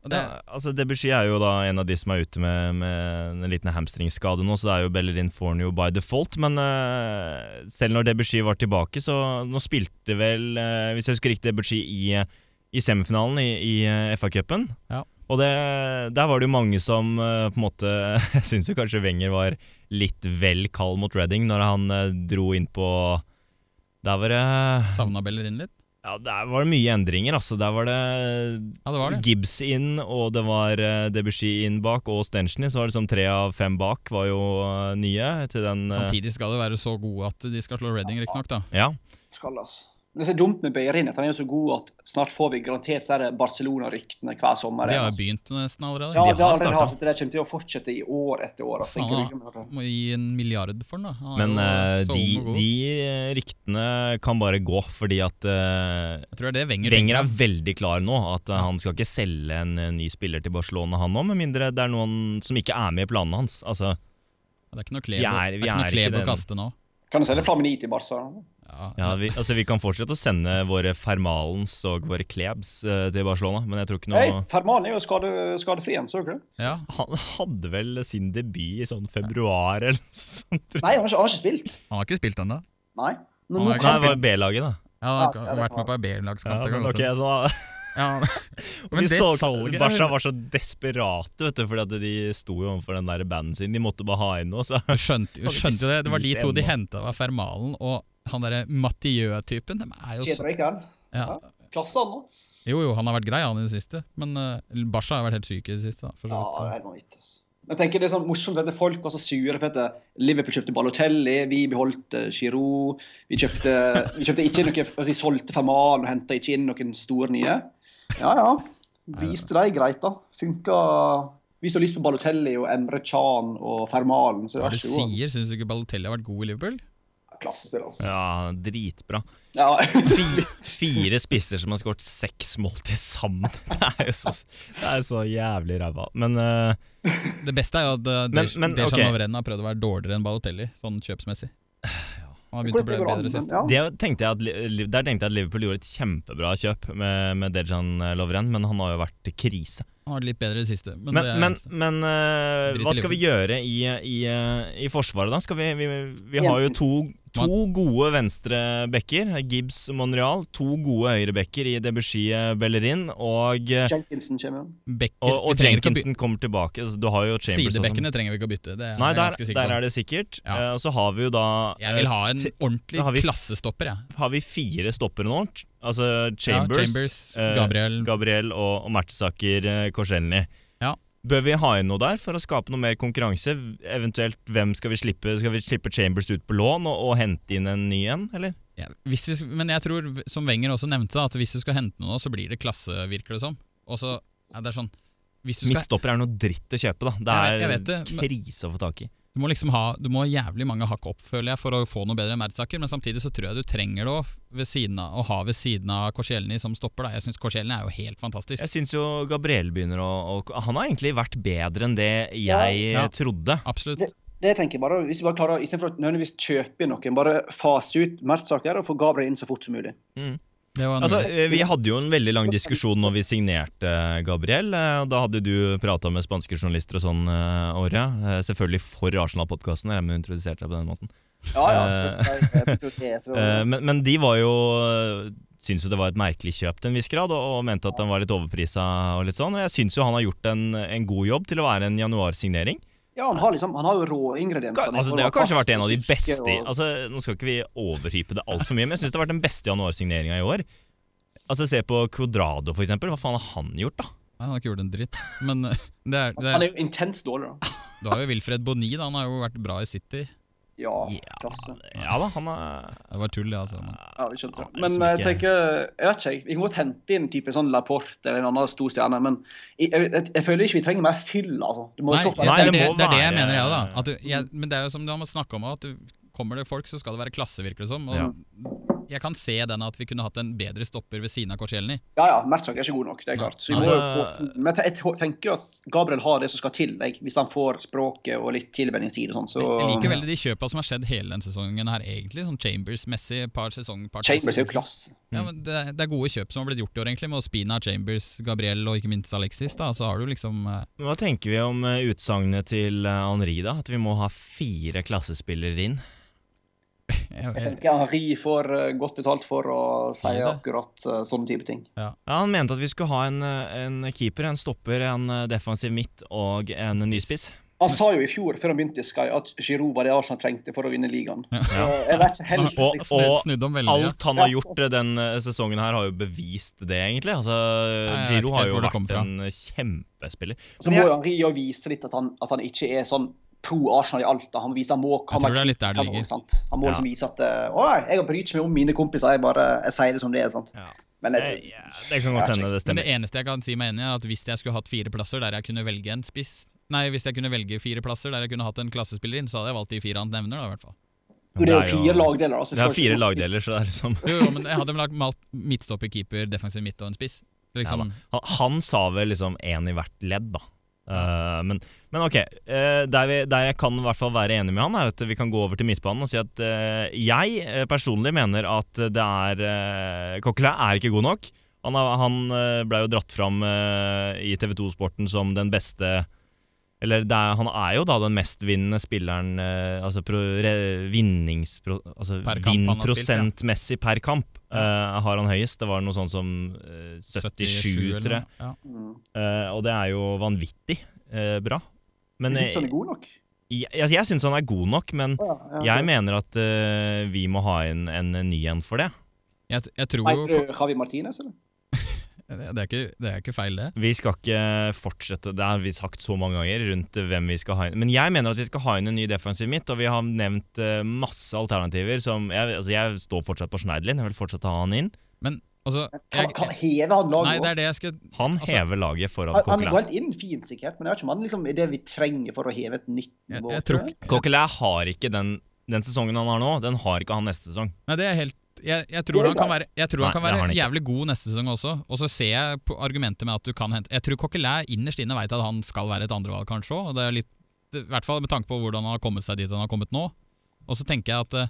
B: Og det,
A: ja, altså Debussy er jo da en av de som er ute med, med en liten hamstringskade nå, så det er jo Bellerin Fornio by default. Men eh, selv når Debussy var tilbake, så nå spilte vel, eh, hvis jeg husker riktig, Debussy i, eh, i semifinalen i, i eh, FA-cupen.
B: Ja.
A: Og det, der var det jo mange som eh, på en måte Jeg syns jo kanskje Wenger var litt vel kald mot Reading når han eh, dro inn på Der var det
B: Savna Bellerin litt?
A: Ja, der var det mye endringer, altså. Der var det
B: Ja, det var det.
A: Gibbs inn, og det var eh, Debussy inn bak, og Stenchny. Så var det som tre av fem bak var jo eh, nye til den eh,
B: Samtidig skal de være så gode at de skal slå Reading, riktignok. da.
A: Ja.
C: Skal, altså. Men det er så dumt med Beirin, for han er jo så god at snart får vi garantert så er det Barcelona-ryktene hver sommer.
B: De har jo
C: altså.
B: begynt nesten allerede.
C: ja,
A: de
C: det har
A: har
C: allerede
A: startet.
C: hatt, det der kommer til å fortsette i år etter år. Altså.
B: Faen,
C: Ikke
B: da.
C: ryggen, men-
B: Må gi en milliard for den, da. Han er
A: Men
B: jo
A: eh,
B: så
A: de,
B: ung og god.
A: de eh, ryktene kan bare gå, fordi at eh,
B: Jeg tror det er det Wenger
A: Wenger
B: tenker.
A: er veldig klar nå. At eh, han skal ikke selge en eh, ny spiller til Barcelona, han òg, med mindre det er noen som ikke er med i planene hans. Altså,
B: Ja, Det er ikke noe
A: Vi
B: kleb,
A: er- vi er
B: det er ikke noe
A: ikke
B: kleb å
A: det.
B: kaste nå.
C: Kan du selge Flamini til Barcelona?
B: Ja,
A: ja, vi, altså, vi kan fortsette å sende våre Fermalens og våre Klebs eh, til Barcelona, men jeg tror ikke
C: Hei,
A: noe
C: Ferman er jo skade, skadefri igjen, så du ikke det?
B: ja.
A: Han hadde vel sin debut i sånn februar eller noe sånt. tror jeg.
C: Nei, han har ikke, han har ikke spilt.
B: Han har ikke spilt ennå.
C: Nei.
B: Han
C: Men nå
B: har
A: Nei,
C: kan
A: det var B-laget, da.
B: Ja, han
C: Ja,
B: har
C: ja, det
B: vært
C: kan
B: med på
A: Ja,
B: B-lagskamp. det kan
A: men,
B: godt
A: ok,
B: hende.
A: så,
B: Ja.
A: men
B: Men
A: vi
B: det
A: så
B: salget
A: Barca var så desperate, vet du, fordi at de sto jo overfor den der banden sin. De måtte bare ha inn noe. Så.
B: Du skjønte, du
A: Hadde ikke
B: skjønte jo det. Det var de
A: spist
B: to de
A: ennå.
B: henta, var Fermalen og han derre Mathieu-typen. De er jo så
C: Kjetil Røykeren.
B: ja.
C: Klasse han nå.
B: Jo, jo, han har vært grei, han i det siste. Men uh, Barca har vært helt syk i det siste. Da, for så
C: Ja, det
B: vidt.
C: er helt vanvittig. Altså. Jeg tenker Det er sånn morsomt at folk var så sure for at eh, Liverpool kjøpte Balotelli, vi beholdt eh, Giroud Vi kjøpte, vi kjøpte ikke noe altså, Vi solgte Ferman og henta ikke inn noen store nye. Ja, ja. Viste de greit, da. Funka Hvis du har lyst på Balotelli og Emre Chan og Fermalen, så
B: Hva
C: vær
B: du
C: så god.
B: sier, syns du ikke Balotelli har vært god i Liverpool?
C: Klassespill, altså.
A: Ja, dritbra.
C: Ja.
A: Fire, fire spisser som har skåret seks mål til sammen. Det er jo så, det er jo så jævlig ræva. Men eh,
B: Det beste er jo at uh,
A: Men-
B: Dejan
A: men, ok.
B: Lovren har prøvd å være dårligere enn Balotelli, sånn kjøpsmessig. Han har begynt å
C: Hvordan
B: bli
C: går det an,
B: bedre sist.
C: men- ja.
A: det tenkte jeg at, Li- Li- der tenkte jeg at Liverpool gjorde et kjempebra kjøp med, med Dejan Lovren, men han har jo vært krise.
B: Han har vært litt bedre i det siste. Men, det
A: Men,
B: er
A: men,
B: liksom eneste.
A: men eh,
B: Drit i
A: hva skal vi gjøre i, i, eh, i Forsvaret, da? Skal vi, vi, vi har jo to, to gode venstrebacker, Gibbs Monreal. To gode høyrebacker i Debussy eh, Bellerin. Og, eh,
C: Jenkinson kommer.
B: Becker,
A: og,
B: vi
A: og
B: trenger ikke å
A: Jenkinson kommer tilbake. Altså, Du har jo
B: bytte-
A: Chambers og sånn.
B: Sidebekkene trenger vi ikke å bytte. Det er
A: Nei,
B: jeg
A: der,
B: ganske sikker
A: der
B: på.
A: er det sikkert.
B: Ja.
A: Eh, Og så har vi jo da
B: Jeg vil ha en
A: eh,
B: ordentlig
A: da har vi-
B: klassestopper, jeg.
A: har vi fire stoppere nå? Altså
B: Ja,
A: Chambers,
B: Chambers
A: eh,
B: Gabriel
A: Gabriel og, og Mertesaker eh, Korselny.
B: Mm. Ja.
A: Bør vi ha inn noe der for å skape noe mer konkurranse? Eventuelt hvem skal vi slippe? Skal vi slippe Chambers ut på lån og, og hente inn en ny en, eller?
B: ja, hvis vi, Men jeg tror, som Wenger også nevnte, at hvis du skal hente noe nå, så blir det klasse, virker det som. Og så ja, det er sånn hvis du, skal,
A: Midtstopper er noe dritt å kjøpe, da. Det
B: Jeg
A: er
B: vet- jeg vet det, men-
A: krise å få tak i.
B: du må liksom ha Du må ha jævlig mange hakk opp, føler jeg, for å få noe bedre enn Mertzaker, men samtidig så tror jeg du trenger det også ved siden av, å ha ved siden av Korselny som stopper. Da. Jeg syns Korselny er jo helt fantastisk.
A: Jeg syns jo Gabriel begynner å, å Han har egentlig vært bedre enn det jeg eh,
B: Ja.
A: trodde.
B: Absolutt.
C: Det tenker jeg bare, hvis vi bare klarer, å- Istedenfor å nødvendigvis kjøpe inn noen, bare fase ut Mertzaker og få Gabriel inn så fort som mulig.
B: Det var en
A: Altså, eh, Vi hadde jo en veldig lang diskusjon når vi signerte eh, Gabriel. eh, og Da hadde du prata med spanske journalister og sånn, eh, Åre. Eh, Selvfølgelig for Arsenal-podkasten, jeg må introdusere deg på den måten.
C: Ja, ja.
A: Eh,
C: absolutt. Jeg- jeg tror det er så-
A: Eh, Men, men de var jo eh, Syns jo det var et merkelig kjøp til en viss grad, og, og mente at han var litt overprisa og litt sånn. Og jeg syns jo han har gjort en, en god jobb til å være en januarsignering.
C: Ja, han har liksom, han har jo råingrediensene.
A: Altså, det har kanskje vært en av de beste i- altså, Nå skal ikke vi overhype det altfor mye, men jeg syns det har vært den beste januarsigneringa i år. Altså Se på Quadrado, for eksempel. Hva faen har han gjort, da?
B: Han har ikke gjort en dritt. Men eh, det er, det
C: Han
B: er,
C: er jo intenst dårlig, da.
B: du har jo Wilfred Boni, da. Han har jo vært bra i City.
C: Ja,
A: Ja,
C: klasse.
A: Ja da, han er
B: Det var tull, det, altså. Men.
C: Ja, vi skjønte
A: Ja,
C: det. Men
A: liksom
C: jeg
A: ikke-
C: tenker, jeg vet ikke, jeg- vi kan godt hente inn type sånn Laporte eller en annen stor stjerne, men jeg, jeg, jeg, jeg føler ikke vi trenger mer fyll, altså. Det må
B: Nei,
C: jo så-
B: det, er
A: det
B: det,
A: må
B: det er det jeg
A: være-
B: mener, jeg òg. At du- jeg- Men det er jo som du har snakka om, at du- kommer det folk, så skal det være klasse, virker det som. Og
A: Ja.
B: Jeg kan se den at vi kunne hatt en bedre stopper ved siden av Korsielny.
C: Ja, ja, Mertzak er ikke god nok, det er klart. Så vi må jo
A: Altså-
C: få, men jeg te- jeg tenker jo at Gabriel har det som skal til, jeg, hvis han får språket og litt tilvenningstid og sånn. Så,
B: Jeg liker veldig de kjøpa som har skjedd hele den sesongen her, egentlig. Sånn Chambers-messig, par sesong, par
C: Chambers er jo
B: sesonger.
C: klasse.
B: Ja, men det, er- det er gode kjøp som har blitt gjort i år, egentlig, med Ospina, Chambers, Gabriel og ikke minst Alexis. da, Så har du liksom eh,
A: Men Hva tenker vi om eh, utsagnet til eh, Henri, da? At vi må ha fire klassespillere inn?
B: jeg,
C: Jeg
B: jeg,
C: tenker Henri får eh, godt betalt for å si
B: Si Eh. det.
C: akkurat eh, sånne type ting.
A: Ja, Han mente at vi skulle ha en, eh, en keeper, en stopper, en eh, defensiv midt og en nyspiss.
C: Han sa jo i fjor, før han begynte i Sky, at Giroud var det Arsenal trengte for å vinne ligaen. Så jeg vet ikke helt
A: Og-
C: liksom.
B: snu-
A: og
B: snudde om veldig. ja.
A: Alt han har gjort eh, den eh, sesongen her, har jo bevist det, egentlig. Altså,
B: jeg vet
A: Giro
B: ikke
A: har
B: helt
A: jo
B: hvor det kom
A: vært
B: fra.
A: en eh, kjempespiller.
C: Så må jo Henri jo vise litt at han, at han ikke er sånn pro Arsenal i alt. da. Han viser han må
B: Jeg
C: han
B: tror det er litt der det ligger.
C: sant? Han må
A: Ja.
C: liksom vise at eh, Å nei, jeg bryr ikke meg om mine kompiser, jeg bare jeg sier det som det er. sant?
A: Ja.
C: Men jeg,
A: Eh,
C: tror-
A: ja, det kan godt hende det
B: Men det
A: stemmer.
B: eneste jeg kan si meg enig i, er at hvis jeg skulle hatt fire plasser der jeg kunne velge en spiss Nei, hvis jeg kunne velge fire plasser der jeg kunne hatt en klassespiller inn, så hadde jeg valgt de fire han nevner, da, i hvert fall.
C: jo, det er jo fire lagdeler. Altså,
A: Det er fire lagdeler, så det er liksom
B: Jo, jo, men jeg hadde vel malt midtstopper, keeper, defensiv midt og en spiss.
A: han,
B: Liksom,
A: han sa vel liksom én i hvert ledd, da. Eh, men, men ok, eh, der, vi, der jeg kan i hvert fall være enig med han, er at vi kan gå over til midtbanen og si at eh, jeg eh, personlig mener at det er uh, Coquelin er ikke god nok. Han, har- han eh, ble jo dratt fram eh, i TV 2-sporten som den beste Eller det er, han er jo da den mestvinnende spilleren eh, altså pro, re, vinningspro, altså
B: Per kamp han har spilt, ja.
A: Vinnprosentmessig per kamp eh, har han høyest. Det var noe sånn som eh, 77,
B: eller
A: tror jeg.
B: noe. Ja.
C: Mm.
A: Eh, og det er jo vanvittig eh, bra. Men
C: Men
A: jeg,
B: eh,
C: syns han er god nok?
A: jeg, altså, jeg syns han er god nok, men
C: Ja, ja.
A: jeg mener at eh, vi må ha inn en ny en for det.
B: Jeg, jeg tror jo
C: Mener du Javi Martinez, eller?
B: det er, ikke, det er ikke feil, det.
A: Vi skal ikke fortsette, det har vi sagt så mange ganger, rundt hvem vi skal ha inn. Men jeg mener at vi skal ha inn en ny defensiv midt, og vi har nevnt eh, masse alternativer som jeg, altså jeg står fortsatt på Schneiderlin, jeg vil fortsatt ha han inn.
B: Men altså
C: Kan,
B: jeg,
C: kan heve han
B: Nei,
C: laget
B: det
C: òg?
B: er det jeg skal
A: Han
B: Altså,
A: hever laget foran
C: Han han går
A: Coquelin.
C: helt inn fint, sikkert, men jeg vet ikke om han liksom, er det vi trenger for å heve et nytt
B: Jeg,
C: nivå.
B: jeg tror ikke-
A: Coquelin har ikke den, den sesongen han har nå, den har ikke han neste sesong.
B: Nei, det er helt jeg, jeg tror han kan være, jeg tror han
A: Nei,
B: kan
A: det har
B: være
A: han ikke.
B: jævlig god neste sesong også. Og så ser jeg på argumentet med at du kan hente Jeg tror Coquelin innerst inne veit at han skal være et andrevalg, kanskje òg. Og det er litt det- I hvert fall med tanke på hvordan han har kommet seg dit han har kommet nå. Og så tenker jeg at eh,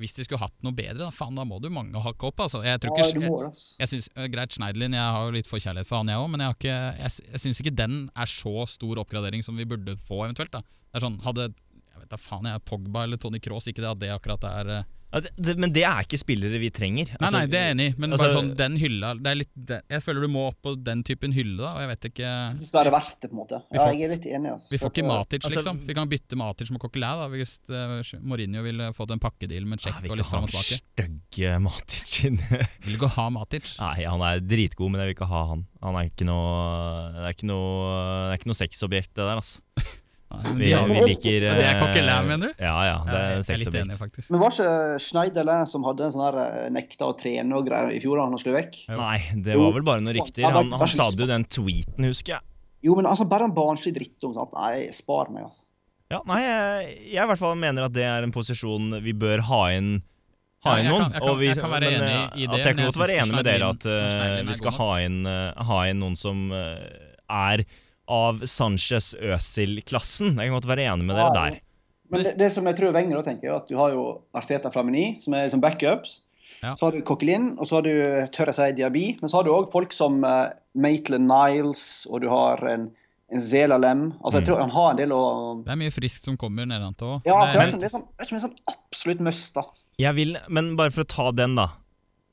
B: hvis de skulle hatt noe bedre, da faen, da må du mange hakke opp, altså. Jeg tror
C: Ja,
B: ikke
C: du
B: jeg,
C: må, altså.
B: jeg synes, eh, Greit, Schneiderlin, jeg har jo litt forkjærlighet for han, jeg òg, men jeg, har ikke, jeg, s- jeg syns ikke den er så stor oppgradering som vi burde få, eventuelt. da Det er sånn, Hadde jeg vet da faen, jeg Pogba eller Tony Cross, ikke det at det akkurat er eh,
A: Ja, det- det- Men det er ikke spillere vi trenger.
B: Nei,
A: Altså,
B: nei, det er jeg enig i, men bare
A: altså-
B: sånn den hylla det er litt, det, Jeg føler du må opp på den typen hylle, da, og jeg vet ikke
C: Jeg synes det er verdt det, på en måte.
B: Vi
C: Ja,
B: får-
C: jeg er litt enig. Altså.
B: Vi får ikke Matic,
A: Altså-
B: liksom. Vi kan bytte Matic med Coquelin, da, hvis eh, Mourinho ville fått en pakkedeal med
A: Jeg
B: Check
A: vil
B: og
A: ikke Ah, ha
B: litt fram
A: han
B: og tilbake.
A: stygge Matic inne.
B: Vil ikke ha Matic.
A: Nei, han er dritgod, men jeg vil ikke ha han. Han er ikke noe Det er ikke noe, det er ikke noe sexobjekt, det der, altså.
B: Nei, men
A: Vi,
B: de har-
A: vi liker
B: Men det er
A: eh,
B: Coquelin, mener du?
A: Ja, ja. Det er
B: Jeg jeg er litt
A: sexobjekt.
B: enig, faktisk.
C: eh, Men var ikke Schneiderle som hadde en sånn her eh, nekta å trene og greier i fjor da han skulle vekk?
B: Jo.
A: Nei, det var vel bare noen
C: Jo,
A: rykter.
C: han var-
A: Han, han sa det jo den tweeten, husker jeg.
C: Jo, men altså, bare en barnslig drittung. Sant? Nei, spar meg, altså.
A: Ja, nei, jeg, jeg i hvert fall mener at det er en posisjon vi bør ha inn ha
B: Ja,
A: inn
B: jeg
A: noen.
B: kan- jeg kan-
A: og vi,
B: jeg kan være
A: men,
B: enig i
A: eh,
B: det,
A: At jeg
B: men
A: kan
B: jeg
A: godt være
B: synes
A: enig med dere at
B: Schneiderlin-
A: eh,
B: Schneiderlin er
A: vi skal
B: god nok.
A: ha inn, eh, ha inn noen som eh, er av Sanchez Øsil-klassen. Jeg kan godt være enig med dere
C: Ja,
A: der.
C: Men det, det som jeg tror Wenger da tenker, er at du har jo Arteta fra Meny, som er liksom backups.
B: Ja.
C: Så har du Coquelin, og så har du, tør jeg si, Diaby. Men så har du òg folk som eh, Maitland Niles, og du har en, en Zelalem.
B: Mm.
C: Altså, jeg tror han har en del å
B: Det er mye friskt som kommer nedenfra òg.
C: Ja,
A: Men-
C: så jeg vet ikke om det er sånn, jeg vet ikke om det er sånn absolutt must, da.
A: Jeg vil, men bare for å ta den, da.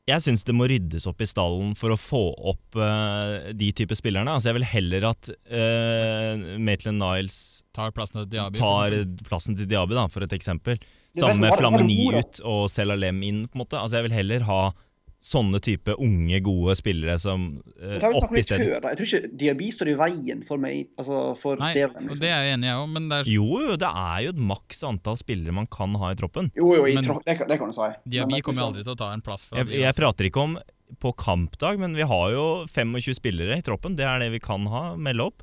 A: Jeg syns det må ryddes opp i stallen for å få opp eh, de type spillerne. Altså, jeg vil heller at eh, Maitland Niles
B: tar plassen til Diaby. for
A: tar
B: eksempel.
A: plassen til Diaby, da, for et eksempel.
C: Det er
A: Sammen med
C: nesten bare- bare
A: Flamini
C: moro.
A: ut og Selalem inn, på en måte. Altså, jeg vil heller ha sånne type unge, gode spillere som eh,
C: Det har
A: opp
C: vi snakket om litt
A: isteden.
C: før. da. Jeg tror ikke Diaby står i veien for meg, altså for
B: Nei,
C: Seven.
B: og
C: Liksom.
B: det er jeg enig i, jeg òg, men det er,
A: Jo, jo, det er jo et maks antall spillere man kan ha i troppen.
C: Jo, jo, i
B: Men-
C: tro- det, kan- det kan du si.
B: Diaby kommer jo aldri til å ta en plass fra
A: Jeg,
B: de,
A: jeg
B: altså.
A: prater ikke om på kampdag, men vi har jo 25 spillere i troppen. Det er det vi kan ha, melde opp.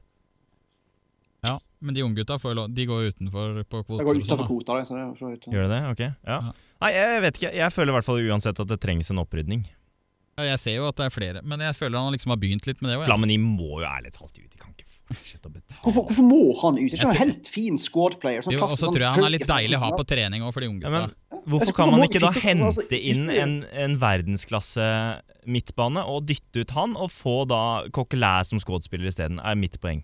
B: Ja, men de unggutta får jo lov- de går jo utenfor på
C: Jeg
B: kvoter.
C: går
B: og sånn,
C: utenfor
B: da.
C: kvota. det, Så det er for så vidt-
A: Gjør det det? Ok. Ja.
B: Ja.
A: Nei, jeg vet ikke. Jeg føler i hvert fall uansett at det trengs en opprydning.
B: Ja, jeg ser jo at det er flere, men jeg føler han liksom har begynt litt med det òg. Ja.
A: Flammen i må jo ærlig talt ut. De kan ikke fortsette å
C: Hvorfor,
A: betale.
C: hvorfor må han ut? Det er ikke
B: Jeg
C: en helt fin squad player. sånn
B: Jo,
C: plass-
B: Og så
C: sånn
B: tror jeg han er litt
C: tørke-
B: deilig å ha på trening òg, for de
A: Ja,
B: unggutta.
A: men
C: Jeg
A: hvorfor
C: tror
A: kan
C: man
A: man
C: må
A: ikke da
C: vite hvor- altså,
A: hente inn
C: hvis-
A: en, en verdensklasse midtbane og dytte ut han, og få da Coquelin som skuespiller isteden, er mitt poeng.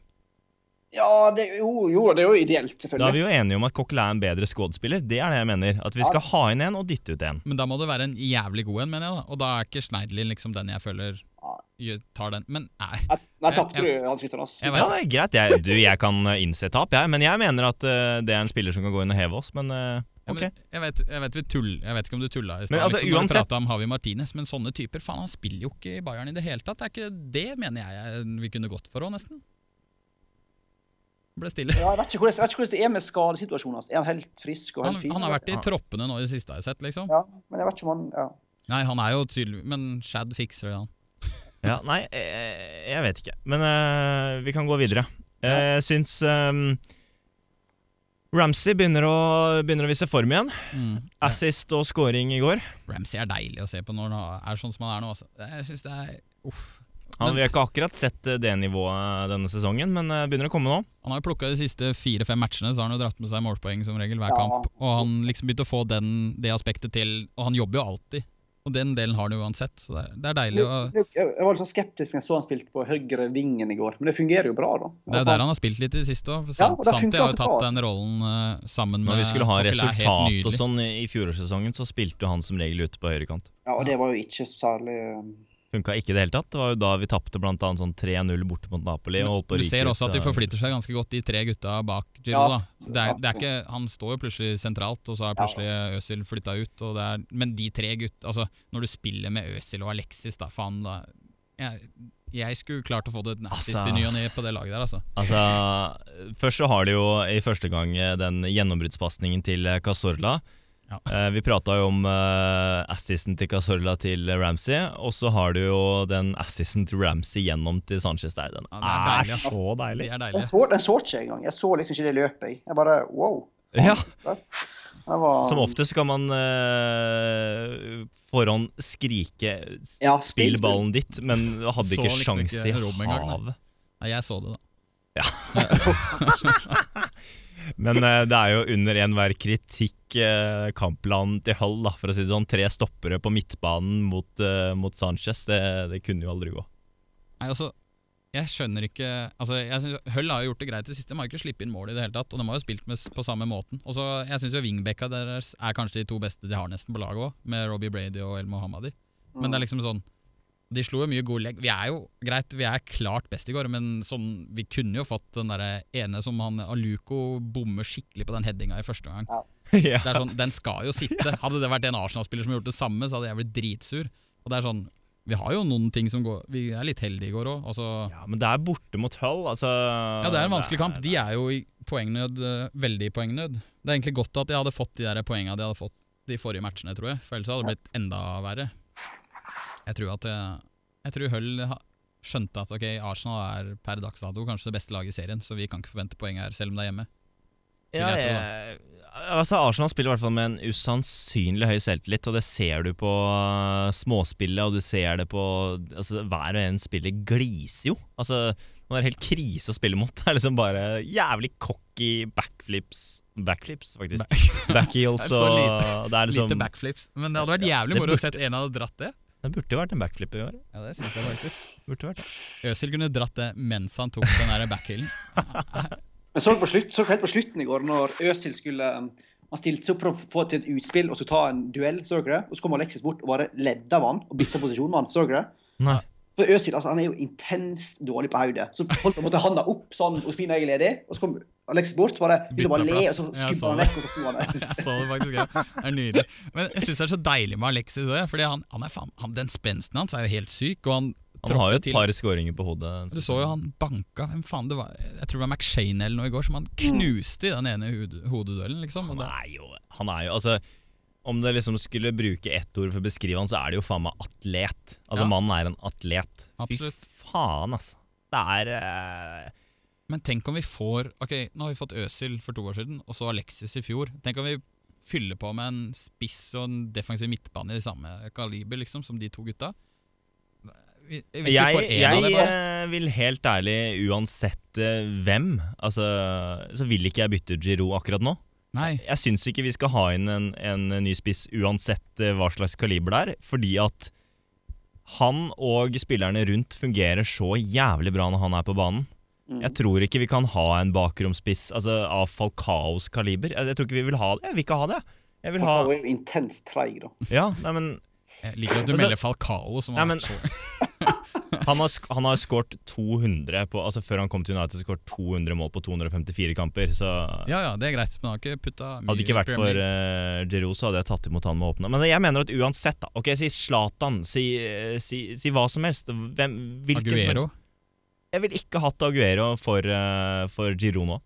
C: Ja, det, jo, jo, det er jo ideelt,
A: Da er
C: selvfølgelig.
A: vi jo enige om at Coquelin er en bedre skuespiller. Det er det jeg mener. At vi skal ha inn en og dytte ut en.
B: Men da må det være en jævlig god en, mener jeg. da Og da er ikke Schneidlin liksom den jeg føler
C: Nei.
B: gjør- tar den. Men nei,
C: Nei,
B: Jeg-
C: tapte
B: jeg-
C: du, Hans Christian Aas?
B: jeg
A: Ja,
B: vet
A: det er greit. Jeg, du, jeg kan eh, innse tap, jeg. Men jeg mener at eh, det er en spiller som kan gå inn og heve oss, men eh,
B: Ja,
A: ok.
B: men Jeg vet, jeg, vet vi tull, jeg vet ikke om du tulla
A: Men
B: i stad,
A: altså,
B: liksom, når du
A: uansett-
B: prata om Havi Martinez, men sånne typer Faen, han spiller jo ikke i Bayern i det hele tatt. Det er ikke det mener jeg vi kunne gått for òg, nesten. Ble stille.
C: Ja, jeg, vet ikke hvordan, jeg vet ikke hvordan det er med skadesituasjonen hans. Er han helt frisk og
B: Han,
C: helt fin?
B: han har vært i
A: Ja.
B: troppene nå i det siste jeg har sett, liksom.
C: Ja, men jeg vet ikke om han ja.
B: Nei, han er jo tydelig Men Shad fikser det, han.
A: Ja, nei, eh, jeg vet ikke. Men eh, vi kan gå videre. Eh, Jeg syns um, Ramsey begynner å, begynner å vise form igjen.
B: Mm.
A: Assist og scoring i går.
B: Ramsey er deilig å se på når han er sånn som han er nå, altså. Jeg syns det er Uff.
A: Han,
B: Men-
A: vi har ikke akkurat sett eh, det nivået denne sesongen, men eh, begynner å komme nå.
B: Han har jo plukka de siste fire-fem matchene, så har han jo dratt med seg målpoeng som regel hver
C: Ja.
B: kamp. Og han liksom begynte å få den, det aspektet til, og han jobber jo alltid. Og den delen har han jo uansett, så det er, det er deilig. å...
C: Jeg jeg var litt sånn skeptisk når jeg så han spilte på høyre vingen i går, men det fungerer jo bra, da.
B: Det er jo der han har spilt litt i det siste òg.
C: Ja, og det funker
B: Santi har jo
C: altså
B: tatt
C: bra.
B: den rollen eh, sammen med
A: Når vi skulle ha
B: Kokele, er helt
A: resultat og
B: nydelig.
A: sånn i i fjorårssesongen, så spilte jo han som regel ute på høyrekant.
C: Ja, og det var jo ikke særlig um,
A: Funka ikke i det hele tatt. Det var jo da vi tapte bl.a. sånn 3-0 borte mot Napoli. Og holdt på å
B: Du
A: ryke
B: ser
A: ut,
B: også at de
A: eh,
B: forflytter seg ganske godt, de tre gutta bak Giro.
C: Ja.
B: da. Det er, det er ikke, han står jo plutselig sentralt, og så er plutselig Øsil flytta ut. Og det er, men de tre gutta altså, Når du spiller med Øsil og Alexis, da faen da, jeg, jeg skulle klart å få det nattist
A: Altså.
B: i ny og ne på det laget der, altså.
A: Altså, Først så har de jo i første gang eh, den gjennombruddspasningen til eh, Cazorla.
B: Ja.
A: Eh, Vi prata jo om eh, assisten til Cazorla til eh, Ramsey, og så har du jo den assisten til Ramsey gjennom til Sanchez der. Den
B: Ja, det er
A: er,
B: deilig, ass.
A: så
B: De
A: deilig!
B: er
C: Den
B: deilige.
C: så, den så ikke jeg engang. Jeg så liksom ikke det løpet. jeg. Jeg bare wow.
A: Ja,
C: Jeg var,
A: Som oftest kan man eh, forhånd skrike
C: Ja,
A: 'spill ballen ditt', men hadde
B: Så
A: ikke
B: liksom
A: sjans
B: ikke
A: i
B: Robben engang, da.
A: havet.
B: Nei, jeg så det, da.
A: Men eh, det er jo under enhver kritikk eh, kampplanen til Hull, da, for å si det sånn. Tre stoppere på midtbanen mot, eh, mot Sanchez, det, det kunne jo aldri gå.
B: Nei, altså, jeg skjønner ikke altså, jeg synes, Hull har jo gjort det greit i det siste. De har jo ikke sluppet inn mål i det hele tatt. Og de har jo spilt med, s- på samme måten. Og så, Jeg syns wingbacka deres er kanskje de to beste de har nesten på laget òg, med Robbie Brady og El Mohammadi. Men det er liksom sånn De slo jo mye god legg. Vi er jo greit, vi er klart best i går, men sånn, vi kunne jo fått den der ene som han Aluko bommer skikkelig på den headinga i første omgang.
A: ja.
B: Det er sånn, Den skal jo sitte. Hadde det vært en Arsenal-spiller som gjort det samme, så hadde jeg blitt dritsur. Og det er sånn Vi har jo noen ting som går Vi er litt heldige i går òg. Altså,
A: ja, men det er borte mot Hull, altså.
B: ja, det er en vanskelig kamp.
A: det
B: De er jo i poengnød, eh, veldig i poengnød. Det er egentlig godt at de hadde fått de der poengene de hadde fått de forrige matchene, tror jeg. For ellers hadde det blitt enda verre. Jeg tror at eh, Jeg tror Hull ha- skjønte at ok, Arsenal er per dags dato kanskje det beste laget i serien, så vi kan ikke forvente poeng her, selv om det er hjemme.
A: Ja,
B: vil jeg tro,
A: jeg, altså Arsenal spiller i hvert fall med en usannsynlig høy selvtillit, og det ser du på eh, småspillet, og du ser det på altså, Hver og en spiller gliser jo. Altså, det er helt krise å spille mot. Det er liksom bare jævlig cocky backflips Backflips, faktisk. Backheels
B: Det er så
A: og
B: lite-
A: Det er
B: Lite
A: liksom
B: backflips. Men det hadde vært jævlig
A: det
B: moro å se at en hadde dratt det.
A: Det burde jo vært en backflip i år.
B: Ja, det synes jeg faktisk.
A: Burde vært det.
B: Øsil kunne dratt det mens han tok den der backheelen.
C: Men så du på slutt, så du helt på slutten i går, når Øsil skulle um, Han stilte seg opp for å få til et utspill og så ta en duell, så dere det? Og så kom Alexis bort og bare ledde av han og bytta posisjon med han, så dere det?
A: Nei.
C: For Özil altså, han er jo intenst dårlig på hodet. Så holdt på en måte handa opp sånn, Ospina jeg er ledig, og så kom Alex bort, bare, ville bare
B: Bytta
C: le, og
B: plass.
C: så
B: Jeg
C: skubba
B: så
A: sånn.
C: han
B: det.
C: vekk, og så
B: Jeg
C: sto han der.
B: så det faktisk, ja. Det er nydelig. Men jeg syns det er så deilig med Alexis òg, for han, han er faen- han, den spensten hans er jo helt syk. Og han,
A: Han har jo
B: tråkker
A: et
B: til.
A: par skåringer på hodet.
B: Du så jo han banka Hvem faen det var? Jeg tror det var McShane eller noe i går, som han knuste i den ene hod- hodeduellen, liksom. Og
A: Han
B: det,
A: er jo, han er jo altså, Om det liksom skulle bruke ett ord for å beskrive han, så er det jo faen meg atlet. Altså,
B: Ja.
A: mannen er en atlet.
B: absolutt.
A: Fy faen, altså. Det er eh,
B: Men tenk om vi får Ok, nå har vi fått Øsil for to år siden, og så Alexis i fjor. Tenk om vi fyller på med en spiss og en defensiv midtbane i samme kaliber, liksom, som de to gutta. Vi- Hvis vi
A: Jeg,
B: får en av
A: jeg
B: det, bare.
A: eh, vil helt ærlig, uansett eh, hvem, altså, så vil ikke jeg bytte Giroud akkurat nå.
B: Nei.
A: Jeg syns ikke vi skal ha inn en, en ny spiss uansett eh, hva slags kaliber det er, fordi at han og spillerne rundt fungerer så jævlig bra når han er på banen.
C: Mm.
A: Jeg tror ikke vi kan ha en bakromspiss altså, av Falcaos kaliber. Jeg, jeg tror ikke vi vil ha det. Jeg vil ikke ha det. Jeg vil ha
C: Han var jo intenst treig, da.
A: Ja, nei, men
B: Jeg liker at du
A: Altså-
B: melder Falcao som
A: Nei,
B: har
A: men-
B: vært så
A: han har, sk han har skåret 200 på Altså Før han kom til United, så skåret 200 mål på 254 kamper. Så
B: Ja ja, det er greit, men han har ikke putta mye
A: hadde det ikke vært
B: i
A: for
B: Premier League.
A: uh, Giroud, så hadde jeg tatt imot han med åpne Men jeg mener at uansett, da. Ok, Si Zlatan. Si, eh, si, si hva som helst. Hvem, hvilken som
B: Aguero.
A: helst. Jeg ville ikke hatt Aguero for, eh, for Giroud nå.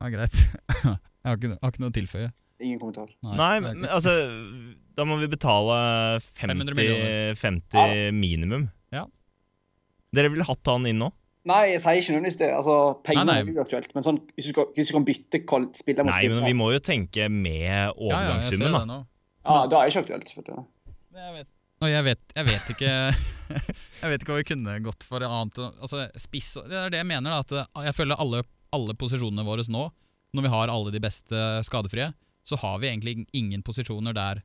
B: Ja, greit. Jeg har ikke, har ikke noe å tilføye.
C: Ingen kommentar.
A: Nei,
B: det er
A: men
B: ikke-
A: altså Da må vi betale
B: 500
A: 50,
B: millioner.
A: 50 minimum.
B: Ja.
A: Dere ville hatt han inn nå?
C: Nei, jeg sier ikke nødvendigvis det. Altså, penger
B: Nei,
C: er
B: nei.
C: uaktuelt. Men sånn, hvis du, skal, hvis du kan bytte kval- spiller mot
A: Nei, men vi må jo tenke med
B: Ja, ja, jeg ser
A: overgangssummen, da.
B: det nå.
C: Ja, da er det ikke aktuelt. selvfølgelig.
B: Jeg vet, og jeg vet, jeg vet ikke Jeg vet ikke hva vi kunne gått for annet Altså spiss og- Det er det jeg mener da at eh, Jeg føler alle, alle posisjonene våre nå Når vi har alle de beste skadefrie Så har vi egentlig ingen posisjoner der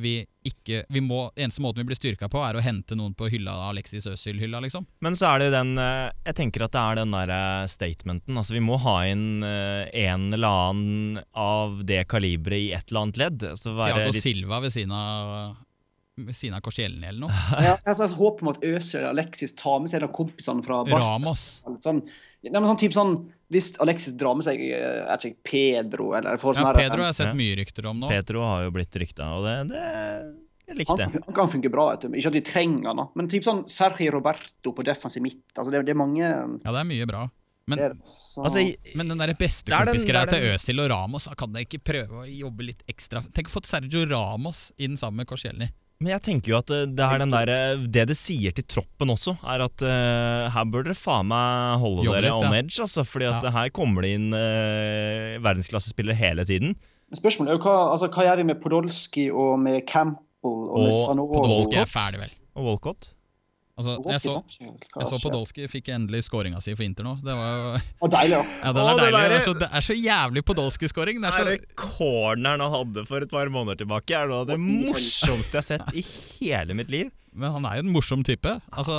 B: vi ikke vi må, Eneste måten vi blir styrka på Er å hente noen på hylla av Alexis Øsil-hylla liksom
A: Men så er det jo den eh, Jeg tenker at det er den der eh, statementen. Altså, vi må ha inn eh, en eller annen av det kaliberet i et eller annet ledd. Altså være
B: Thiago
A: litt
B: Silva ved siden av Ved siden av Korsielny eller noe
C: Men Jeg har et slags håp om at Øzil og Alexis tar med seg en av kompisene fra Barca.
B: Ramos
C: Sånn, nei, men sånn typ sånn Hvis Alexis drar med seg eh, er ikke jeg, Pedro eller får
B: Ja,
C: sånn her-
B: Pedro har jeg
A: Ja.
B: sett mye rykter om nå
A: Petro har jo blitt rykta, og det, det Jeg likte
C: han,
A: det.
C: han kan funke bra. Vet du. Ikke at vi trenger han, da. men typ sånn Sergio Roberto på defensiv midt. Altså, det, det er mange
B: Ja, det er mye bra Men
C: det er- så-
A: Altså, jeg-
B: Men den der
A: Det
B: bestekompisgreia
A: er den- det er
B: til
A: den-
B: Øsil og Ramos, da kan jeg ikke prøve å jobbe litt ekstra? Tenk å få Sergio Ramos i den samme Korsielny.
A: Men jeg tenker jo at eh, det er den der, eh, det det sier til troppen også, er at eh, her bør dere faen meg holde
B: Jobbe
A: dere
B: litt,
A: on
B: ja.
A: edge, altså. Fordi at
B: Ja.
A: eh, her kommer det inn eh, verdensklassespillere hele tiden.
C: Spørsmålet er jo hva, altså, hva gjør vi med Podolski og med Campbell og, med
A: Og
C: Sanogo?
B: Podolsky er ferdig, vel.
A: Og Walcott.
B: Altså,
C: Podolski
B: jeg så,
C: vet ikke helt hva
B: jeg så
C: som skjer.
B: Podolsky fikk endelig skåringa si for Inter nå. Det var jo
C: Å, deilig, ja.
B: Ja, den
A: Å,
B: er
A: det
B: deilig.
A: der-
B: Det er så, det er så jævlig Podolsky-skåring. Det
A: Det er
B: er så
A: det corneren han hadde for et par måneder tilbake, er noe av det morsomste jeg har sett i hele mitt liv.
B: Men han er jo en morsom type. Altså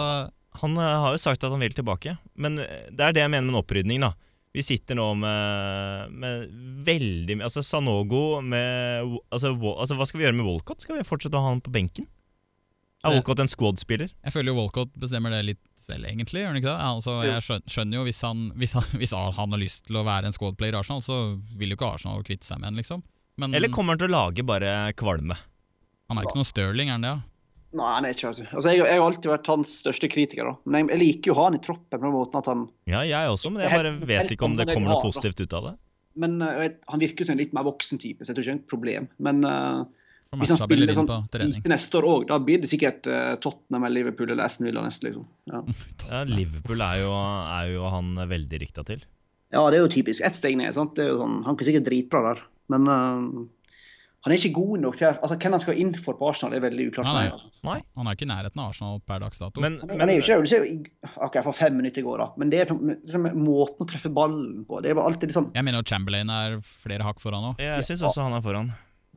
A: Han eh, har jo sagt at han vil tilbake, men eh, det er det jeg mener med en opprydning, da. Vi sitter nå med, med veldig mye Altså Sanogo med altså, Wa- altså, hva skal vi gjøre med Walcott? Skal vi fortsette å ha han på benken? Er
B: Det-
A: Walcott en squad-spiller?
B: Jeg føler jo Walcott bestemmer det litt selv, egentlig. gjør han ikke det? Altså, jeg skjøn- skjønner jo hvis han, hvis han, hvis han har lyst til å være en squadplayer i Arsenal, så vil jo ikke Arsenal kvitte seg med han, liksom.
C: Mm.
B: Men
A: Eller kommer han til å lage bare kvalme?
B: han er jo ikke noe Stirling, er han det? Ja?
C: Nei, han er ikke altså. Altså, jeg, jeg har alltid vært hans største kritiker, da. men jeg, jeg liker jo å ha han i troppen på den måten at han
A: Ja, jeg også, men jeg bare vet ikke om det kommer noe positivt ut av det.
C: Men eh, jeg vet, han virker som en litt mer voksen type, så jeg tror ikke det er et problem. Men eh,
B: For
C: hvis han
B: matcha
C: spiller
B: Bellerin
C: sånn
B: på trening.
C: lite neste år òg, da blir det sikkert eh, Tottenham eller Liverpool eller Aston Villa neste, liksom. Ja.
A: Ja, Liverpool er jo, er jo han veldig rykta til.
C: Ja, det er jo typisk. Ett steg ned. sant? Det er jo sånn, Han kan sikkert dritbra der, men eh, han er ikke god nok til altså, Hvem han skal inn for på Arsenal, er veldig uklart.
B: Nei, nei.
C: altså.
A: Nei?
B: Han er ikke i nærheten av Arsenal per dags dato.
A: Men,
C: Han er-
A: men,
C: han er jo ikke, det er jo ikke OK, jeg får fem minutter i går, da. Men det er liksom, måten å treffe ballen på. Det er bare alltid litt sånn
B: jeg mener jo Chamberlain er flere hakk foran nå.
A: jeg syns også han er foran.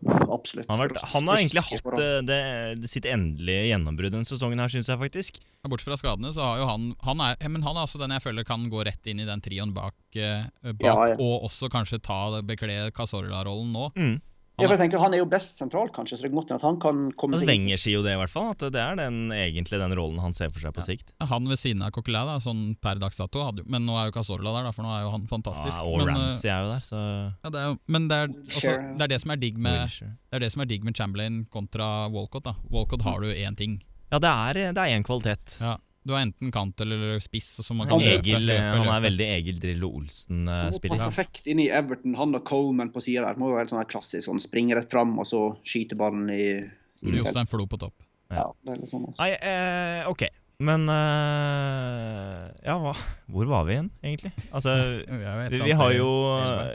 C: Absolutt.
A: Han har, vært, han har egentlig hatt eh, det, det, sitt endelige gjennombrudd denne sesongen, her, syns jeg faktisk.
B: Ja, Bortsett fra skadene, så har jo han han er, ja, Men han er også den jeg føler kan gå rett inn i den trioen bak, eh, bak
C: Ja, ja.
B: og også kanskje ta bekle Casorla-rollen nå.
A: Mm.
C: Ja, for jeg tenker, Han er jo best sentralt, kanskje, så det er godt at han kan komme
A: Altså,
C: seg inn.
A: Wenger sier jo det, i hvert fall. At det er den, egentlig den rollen han ser for seg på sikt.
B: Han ved siden av Coquelin, da, sånn per dags dato, hadde, jo- men nå er jo Cazorla der, da, for nå er jo han fantastisk.
A: Ja, Ah, og
B: men, eh,
A: Ramsey er jo der, så
B: ja, det er, jo- men det er, også,
C: Sure.
B: det er det som er digg med Det er det som er digg med Chamberlain kontra Walcott. da Walcott har du én ting.
A: Ja, det er, eh, det er en kvalitet.
B: Ja. Du har enten kant eller spiss. og så man kan løpe,
A: Egil, eh,
B: løpe,
A: han er
B: løpe.
A: veldig Egil Drillo eh,
B: eh,
A: Olsen-spiller.
C: Han perfekt inn i Everton. Han og Coleman på sida der. Må jo være helt sånn her klassisk. Sånn, springe rett fram, og så skyte ballen i
B: Så Jostein Flo på topp.
C: Ja, det er litt sånn, altså.
A: Nei, eh, ok. Men eh, Ja, hva, hvor var vi igjen, egentlig? Altså,
B: Vi, er jo et
A: vi,
B: eller
A: vi
B: annet
A: har
B: sted i
A: jo
B: Elva.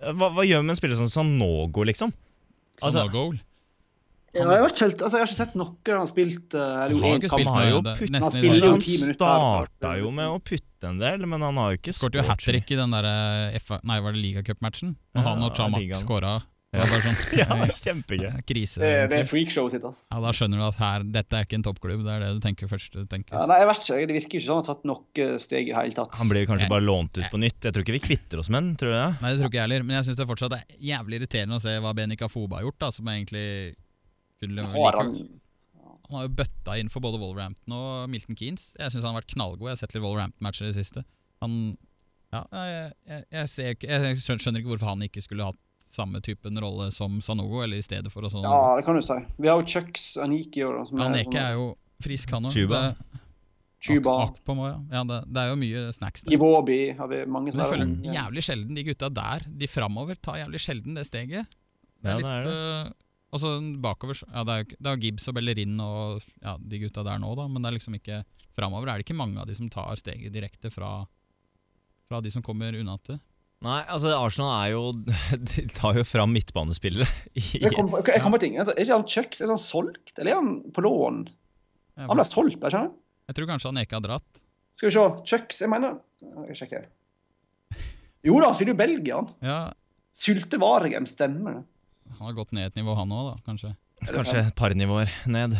A: eh, hva, hva gjør vi med en spiller som Sanogo, liksom?
B: Som
A: altså-
B: no goal.
C: Ja, jeg, vet ikke helt, altså, jeg har ikke sett noe han har spilt eh, eller jo,
B: Han har
C: en
B: ikke
C: kamp.
B: spilt
A: har jo
B: det-
A: putt-
B: nesten i
C: han spiller
B: dag.
C: jo
A: Han
C: ti minutter
A: starta
C: hver.
A: jo med å putte en del, men han har jo ikke
B: Skårte jo hat trick i den der eh, FA Nei, var det ligacupmatchen? Når
A: Ja,
B: han og
A: ligaen.
B: Chamak skåra.
A: Ja.
B: Ja. Sånn,
A: Ja, kjempegøy.
B: krise.
C: Det, det er
B: egentlig.
C: freakshowet sitt, altså.
B: Ja, da skjønner du at her, dette er ikke en toppklubb. Det er det du tenker først. Du
C: Ja,
B: tenker.
C: nei, jeg vet ikke, Det virker jo ikke som han har tatt noe steg i det hele tatt.
A: Han blir kanskje
B: Nei.
A: bare lånt ut på nytt. Jeg tror ikke vi kvitter oss med den, tror du det?
B: Nei, det tror ikke jeg heller. Men jeg syns det fortsatt er jævlig irriterende å se hva Benika Foba har gjort, da, som egentlig kunne
C: Har han,
B: like, Han har jo bøtta inn for både Wolverhampton og Milton Keanes. Jeg syns han har vært knallgod. Jeg har sett litt Wolverhampton-matcher i det siste. Han Ja, jeg, jeg, jeg, ser, ikke- jeg skjøn- skjønner ikke hvorfor han ikke skulle hatt samme typen rolle som Sanogo, eller i stedet for. Og sånn.
C: ja, det kan du si. Vi har jo Chucks Aniki og sånn,
B: Men Aneke er jo frisk, han òg.
A: Chuba.
C: Chuba,
B: Ja. Ja, det, det er jo mye snacks der.
C: Iwobi har vi mange
B: Men jeg
C: som
A: Mm.
B: føler jævlig sjelden de gutta der, de framover, tar jævlig sjelden det steget.
A: Ja, det er det.
B: eh, og så bakover så- ja, det, er, jo ikke- det er Gibbs og Bellerin og ja, de gutta der nå, da, men det er liksom ikke framover. Er det ikke mange av de som tar steget direkte fra, fra de som kommer unna til?
A: Nei, altså Arsenal er jo De tar jo fram midtbanespillere. i-
C: Jeg kommer på jeg kom på ting. Altså, er ikke han Chucks er han solgt, eller er han på lån?
B: Jeg,
C: Han ble solgt, er ikke han?
B: jeg tror kanskje Aneke har dratt.
C: Skal vi se. Chucks, jeg mener Jeg sjekker. Jo da, han spiller jo i Belgia, han.
B: Ja,
C: Sylte Vargem, stemmer det.
B: han har gått ned et nivå, han òg, da, kanskje.
A: Kanskje et par nivåer ned.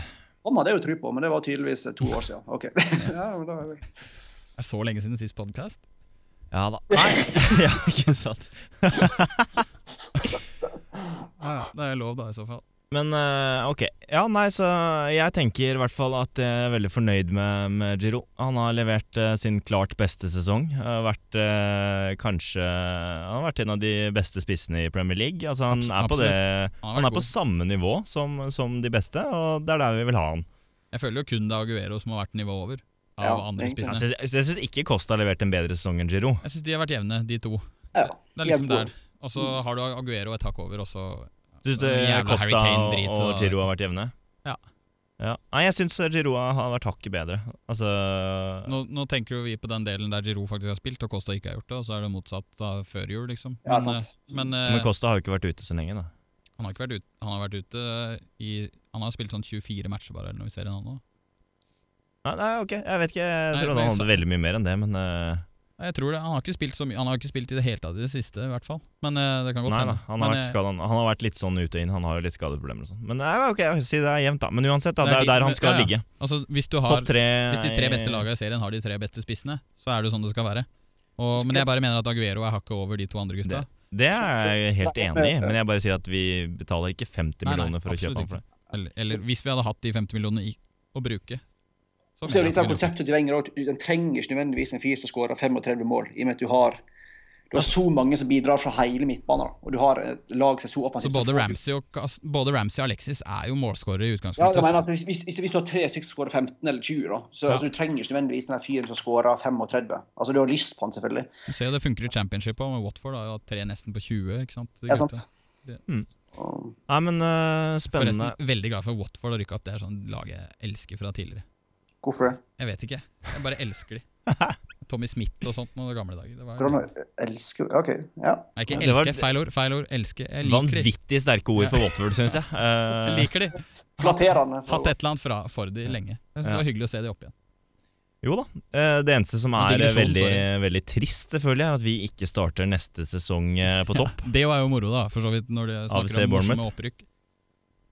C: Han hadde jeg jo tro på, men det var tydeligvis eh, to år siden. Ok. Ja, men da,
B: Det er så lenge siden sist podkast.
A: Ja da. Nei, ja, ikke sant.
B: Ja, ja, det er lov, da, i så fall.
A: Men eh, ok. Ja, nei, så jeg tenker i hvert fall at jeg er veldig fornøyd med, med Giro. Han har levert eh, sin klart beste sesong. Har vært eh, kanskje Han har vært en av de beste spissene i Premier League. Altså, han
B: Abs-
A: er på det
B: Han har
A: Han
B: vært
A: er på
B: god.
A: samme nivå som, som de beste, og det er der vi vil ha han.
B: Jeg føler jo kun det er Aguero som har vært nivået over av
C: Ja,
B: andre
C: egentlig.
A: Jeg
B: spissene.
A: syns- Jeg syns ikke Costa har levert en bedre sesong enn Giro.
B: Jeg syns de har vært jevne, de to.
C: ja.
B: Det er liksom
C: Jevngode.
B: der. Og så
C: Mm.
B: har du Aguero et hakk over, og så
A: Syns du
B: Jævla Harry
A: Costa
B: Kane drit,
A: og
B: og-
A: Giro har vært jevne?
B: Ja.
A: Ja. Nei, jeg syns Giro har vært hakket bedre. Altså
B: nå, nå tenker jo vi på den delen der Giroud faktisk har spilt, og Costa ikke har gjort det, og så er det motsatt av før jul, liksom.
C: Ja,
B: Men,
C: sant.
B: eh, men, eh,
A: Men Costa har jo ikke vært ute så lenge, da.
B: han har ikke vært ute, han har vært ute i Han har spilt sånn 24 matcher bare, eller noe i serien han nå.
A: Nei, nei, ok, jeg vet ikke. Jeg trodde
B: Nei, men
A: han
B: jeg
A: hadde
B: sa-
A: veldig mye mer enn det, men eh,
B: Nei, Jeg tror det, Han har ikke spilt så mye, han har ikke spilt i det hele tatt i det siste, i hvert fall. Men eh, det kan godt
A: Nei da,
B: hende.
A: han har,
B: Men,
A: vært
B: eh,
A: skadet, han, han har vært litt sånn ut og inn. Han har jo litt skadeproblemer og sånn. Men nei, ok, jeg vil si det er jevnt, da. Men uansett, da, det
B: Det er
A: er jo
B: de-
A: der
B: men-
A: han skal
B: ja, ja.
A: ligge.
B: Altså, hvis, du har,
A: Topp tre eh,
B: hvis de tre beste lagene i serien har de tre beste spissene, så er det jo sånn det skal være. Og, men jeg bare mener at Aguero er hakket over de to andre gutta.
A: Det er jeg helt enig i, men jeg bare sier at vi betaler ikke 50
B: Nei, nei,
A: millioner for å
B: absolutt
A: kjøpe han for det.
B: Eller, eller hvis vi hadde hatt de 50 millionene i, å bruke. så
C: Så er det
B: mener jeg
C: litt
B: at
C: av
B: vi bruker.
C: konseptet til Wenger også, at Den trenger ikke nødvendigvis en fyr som skårer 35 mål, i og med at du har du har så mange som bidrar fra hele midtbanen, og du har et lag som er så
B: Så
C: offensivt.
B: både Ramsey og, Kas- både Ramsey og Alexis er jo målskårere i
C: Ja, jeg
B: utgangspunktet.
C: mener at hvis, hvis, hvis, hvis du har tre stykker som skårer 15 eller 20, da, så
B: Ja.
C: altså, du trenger ikke nødvendigvis den her fyren som skårer 35. Altså, du har lyst på han, selvfølgelig.
B: Du ser jo det funker i championship òg, med Watford har jo hatt tre nesten på 20. ikke sant?
C: Ja, sant.
B: Det- mm.
C: Og-
A: Nei, men øh, spennende.
B: Forresten, veldig glad for at Watford har rykka opp. Det er sånn lag jeg elsker fra tidligere.
C: Hvorfor det?
B: Jeg vet ikke, jeg bare elsker de. Tommy Smith og sånt noen gamle dager. Det var,
C: Hvordan elsker OK, ja.
B: Nei, ikke
A: Det var-
B: elsker, feil ord. Feil ord. Elsker. Jeg liker de.
A: Vanvittig sterke ord for Watford, syns jeg.
B: Jeg
A: Eh,
B: liker de.
C: Flatterende.
B: Hatt et eller annet fra, for de lenge. Jeg synes Det var hyggelig å se de opp igjen.
A: jo da. eh, det eneste som er eh,
B: Digresjon,
A: veldig,
B: sorry.
A: veldig trist, selvfølgelig, er at vi ikke starter neste sesong eh, på topp.
B: Det var jo moro, da, for så vidt, når de
A: AFC
B: snakker om morsomme
A: Bournemouth.
B: opprykk.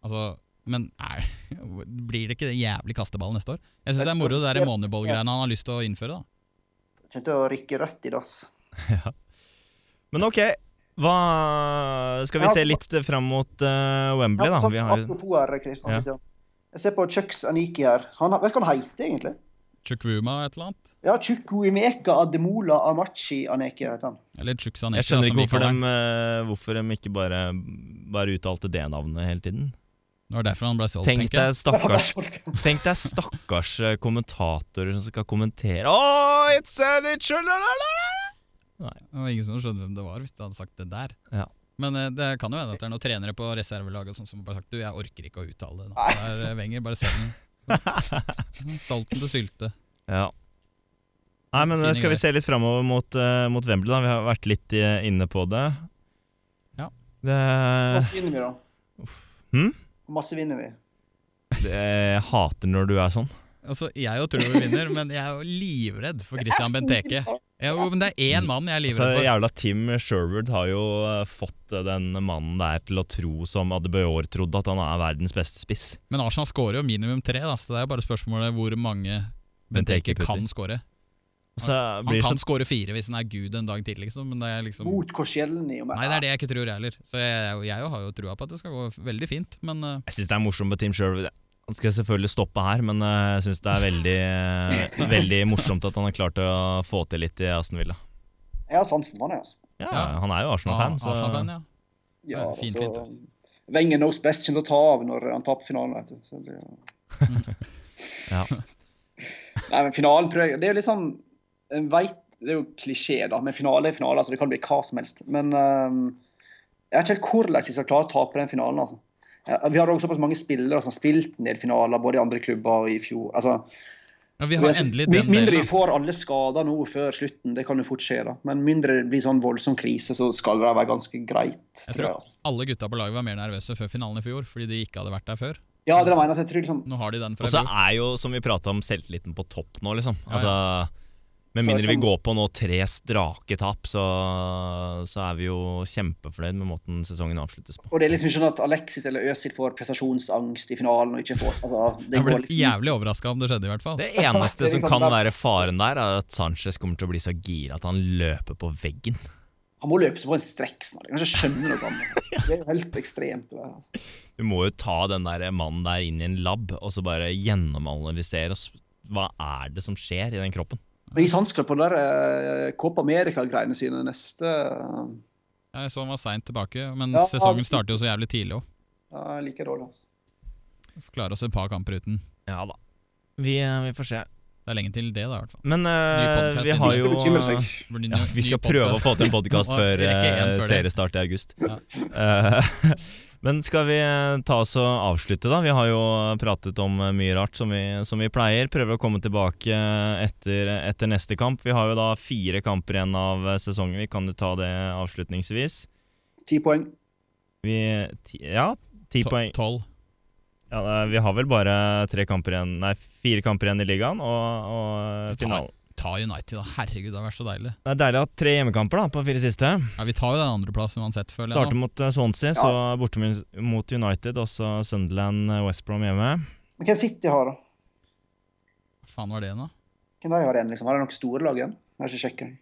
B: Altså, men er, blir det ikke det jævlig kasteball neste år? Jeg syns det er moro det der moneyball-greiene han har lyst til å innføre. da
C: Kjente å rykke rett i dass.
A: Men ok, Hva, skal vi
C: Ja,
A: se litt fram mot eh, Wembley,
C: Ja,
A: da?
C: sånn,
A: Vi har,
C: Apropos her, Kristian.
A: Ja.
C: Kristian. Jeg ser på Chucks Aniki her. Han, har- vet du hva han heter, egentlig?
B: Chukwuma et eller annet.
C: Ja, Chukwuemeka Ademola Amachi Aneki heter han.
B: Eller altså, Chuksaneke.
A: jeg skjønner ikke hvorfor de,
B: Det
A: hvorfor de ikke bare, bare uttalte det navnet hele tiden.
B: var derfor han ble solgt,
A: Tenk
B: tenker
A: deg
B: jeg.
A: stakkars
C: Solgt.
A: Tenk deg stakkars eh, kommentatorer som skal kommentere Åh, it's a little
B: Det var ingen som skjønte hvem det var hvis du hadde sagt det der.
A: Ja.
B: Men eh, det kan jo hende at det er noen trenere på reservelaget og sånt som bare har sagt du, jeg orker ikke å uttale det. nå. Det er Wenger, bare send den. Salt den til sylte.
A: Ja. Nei, men eh,
B: Fine
A: skal
B: greier.
A: vi se litt framover mot, eh, mot Wembley, da. Vi har vært litt eh, inne på det.
B: Ja.
A: Det,
B: Eh.
C: Hvor masse vinner vi, da?
A: Hm?
C: Hvor masse vinner vi?
A: det Jeg hater når du er sånn.
B: Altså, Jeg jo tror vi vinner, men jeg er jo livredd for Christian Benteke. Jeg, jo, men det er én mann jeg er
A: Altså,
B: livredd for.
A: jævla Tim Sherwood har jo eh, fått eh, den mannen der til å tro som Adebayor trodde, at han er verdens beste spiss.
B: Men Arsenal skårer jo minimum tre, da, så det er jo bare spørsmålet hvor mange
A: Benteke
B: Benteke
A: putter.
B: kan skåre.
A: Så jeg
B: Han
A: blir så
B: kan skåre fire hvis han er gud en dag til, liksom. Men det er liksom
C: Mot Korsielny og
B: Nei, det er det jeg ikke tror, jeg heller. Så jeg, jeg, jeg har jo trua på at det skal gå veldig fint, men eh,
A: Jeg syns det er morsomt med Tim Sherwood. Han skal selvfølgelig stoppe her, men eh, jeg syns det er veldig, eh, veldig morsomt at han har klart å få til litt i Aston Villa.
C: Jeg har sansen for han, jeg, altså.
A: Ja,
B: Ja.
A: Han er jo
B: ja,
A: Arsenal-fan, så
B: Arsenal-fan, ja.
C: Ja,
B: Ja, fint,
C: altså, Wenger knows best kommer til å ta av når han taper finalen. Vet du. Så det,
A: Ja.
C: Nei, men finalen tror jeg Det er jo liksom en veit, Det er jo klisjé, da, men finale er finale. altså Det kan bli hva som helst. Men ehm, jeg vet ikke helt hvordan de skal klare å tape den finalen. altså. Ja, Vi har også såpass mange spillere som har spilt en del finaler, både i andre klubber og i fjor. altså...
B: ja. Vi har endelig
C: Min-
B: den
C: mindre
B: delen.
C: vi får alle skader nå før slutten, det kan jo fort skje, da. Men mindre det blir sånn voldsom krise, så skal det være ganske greit.
B: Jeg
C: tror jeg,
B: tror
C: altså.
B: alle gutta på laget var mer nervøse før finalen i fjor, fordi de ikke hadde vært der før.
C: Ja, det er det jeg mener, så jeg tror liksom
B: Nå har de den fra
A: Og så
B: fjor.
A: er jo, som vi prata om, selvtilliten på topp nå, liksom.
B: Ja,
A: Altså, med
C: Så
A: mindre vi
C: kan-
A: går på nå tre strake tap, så, så er vi jo kjempefornøyd med måten sesongen avsluttes på.
C: Og det er liksom ikke sånn at Alexis eller Øzil får prestasjonsangst i finalen og ikke får altså, det
B: Jeg
C: går
B: ble
C: liksom,
B: jævlig overraska om det skjedde, i hvert fall.
A: Det eneste
C: Det er
A: som
C: liksom
A: kan
C: da-
A: være faren der, er at Sanchez kommer til å bli så gira at han løper på veggen.
C: Han må løpe seg på en strekk snart. Jeg kan ikke skjønne noe annet. Det er jo helt ekstremt. Det der, altså.
A: Du må jo ta den der mannen der inn i en lab og så bare gjennomanalysere oss. Hva er det som skjer i den kroppen?
C: Og Is hansker på den der eh, Copa America-greiene sine neste eh,
B: Ja, Jeg så han var seint tilbake, men
C: Ja,
B: sesongen
C: han-
B: starter jo så jævlig tidlig òg.
C: ja, like dårlig, altså.
B: Klarer oss et par kamper uten.
A: Ja da. Vi, eh, vi får se.
B: Det er lenge til det, da, i hvert fall.
A: Men eh,
B: podcast
A: vi
B: inn.
A: har
C: Ikke
A: jo
C: bekymre seg.
B: Blir ny-
A: Ja, vi
B: ny
A: skal
B: podcast.
A: prøve å få til en podkast
B: Nå
A: før
B: rekker jeg en
A: eh,
B: før det.
A: seriestart i august.
B: Ja.
A: Eh, Men skal vi eh, ta oss og avslutte, da? Vi har jo pratet om eh, mye rart, som vi, som vi pleier. Prøver å komme tilbake eh, etter, etter neste kamp. Vi har jo da fire kamper igjen av eh, sesongen. Vi kan jo ta det avslutningsvis.
C: Ti poeng.
A: Vi ti, Ja, ti
B: To-
A: poeng.
B: Tolv.
A: Ja, eh, vi har vel bare tre kamper igjen Nei, fire kamper igjen i ligaen og, og
B: Vi tar-
A: finalen.
B: Ta United, da. Herregud, det har vært så deilig.
A: Det er deilig å ha tre hjemmekamper da på fire siste.
B: Ja, Vi tar jo den andreplassen uansett, føler jeg.
A: Starte
B: nå.
A: mot eh, Swansea, så borte min- mot United, og så Sunderland eh, West Brom hjemme.
C: Men hvem City har, da?
B: Hva faen var det nå?
C: Hvem de har igjen, liksom? Har de noen store lag igjen? Jeg har ikke sjekket.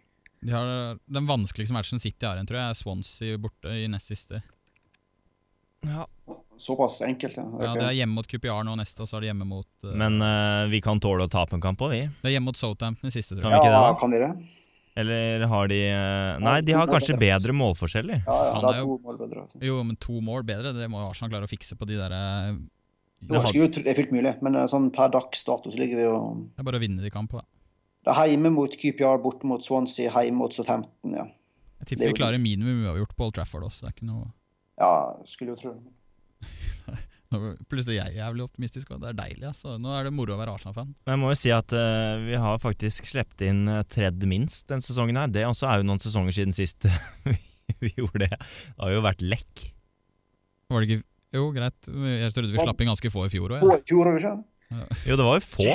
B: De har Den vanskeligste matchen City har igjen, tror jeg, er Swansea borte i nest siste.
C: Såpass enkelt, ja.
B: Ja,
C: Ok.
B: Det er hjemme mot Coupillard nå neste, og så er det hjemme mot eh,
A: Men eh, vi kan tåle å tape en kamp òg, vi.
B: Det er hjemme mot Southampton i siste, tror
A: Kan vi
B: jeg.
A: ikke det, da?
C: kan vi det?
A: Eller har de eh, Nei, de har kanskje bedre målforskjeller.
C: Ja, ja,
B: Faen,
C: da
B: det er
C: er
B: jo-
C: to altså. mål bedre.
B: Jo, men to mål bedre, det må jo Arsenal klare å fikse på de der eh,
C: Jo, jeg skulle jo tro- det er fullt mulig, men eh, sånn per dags dato så ligger vi jo
B: Det er bare å vinne de kampene, da.
C: Det er hjemme mot QPR, borte mot Swansea, hjemme mot Southampton, ja.
B: Jeg tipper
C: Det er
B: vi
C: jo-
B: klarer minimum uavgjort på Old Trafford også. Det er ikke noe
C: Ja, skulle jo tro det.
B: nå- Plutselig er jeg jævlig optimistisk, og det er deilig. Altså. Nå er det moro å være Arsenal-fan.
A: Men jeg må jo si at eh, vi har faktisk slept inn eh, tredd minst den sesongen her. Det også er jo noen sesonger siden sist vi, vi gjorde det. Det har jo vært lekk.
B: Var det ikke Jo, greit. Jeg trodde vi slapp inn ganske få i fjor òg.
C: Å, i fjor har vi ikke?
A: Jo, det var jo få,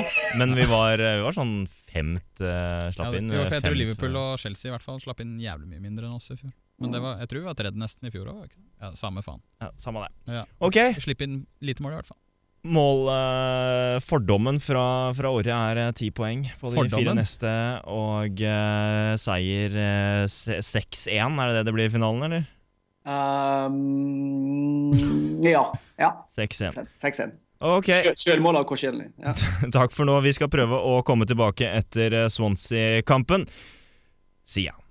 A: men vi var, eh, vi var sånn femt eh,
B: Ja,
A: slapp
B: det-
A: inn.
B: jo, for jeg tror
A: Femt,
B: Liverpool og Chelsea i hvert fall slapp inn jævlig mye mindre enn oss i fjor. Men det var, jeg tror vi var tredje nesten i fjor òg. Ja, samme faen.
A: ja, Samme det.
B: Ja.
A: Ok,
B: Vi slipper inn lite mål i hvert fall.
A: Målfordommen fra, eh, fra året er eh, ti poeng på de fire
B: Fordommen?
A: neste, og eh, seier eh, se- 6-1. Er det det det blir i finalen, eller?
C: Ehm, ja. ja.
A: 6-1.
C: Takk sen.
A: Ok,
C: Selvmål av Korsielny. Ja.
A: takk for nå. Vi skal prøve å komme tilbake etter eh, Swansea-kampen, sier jeg.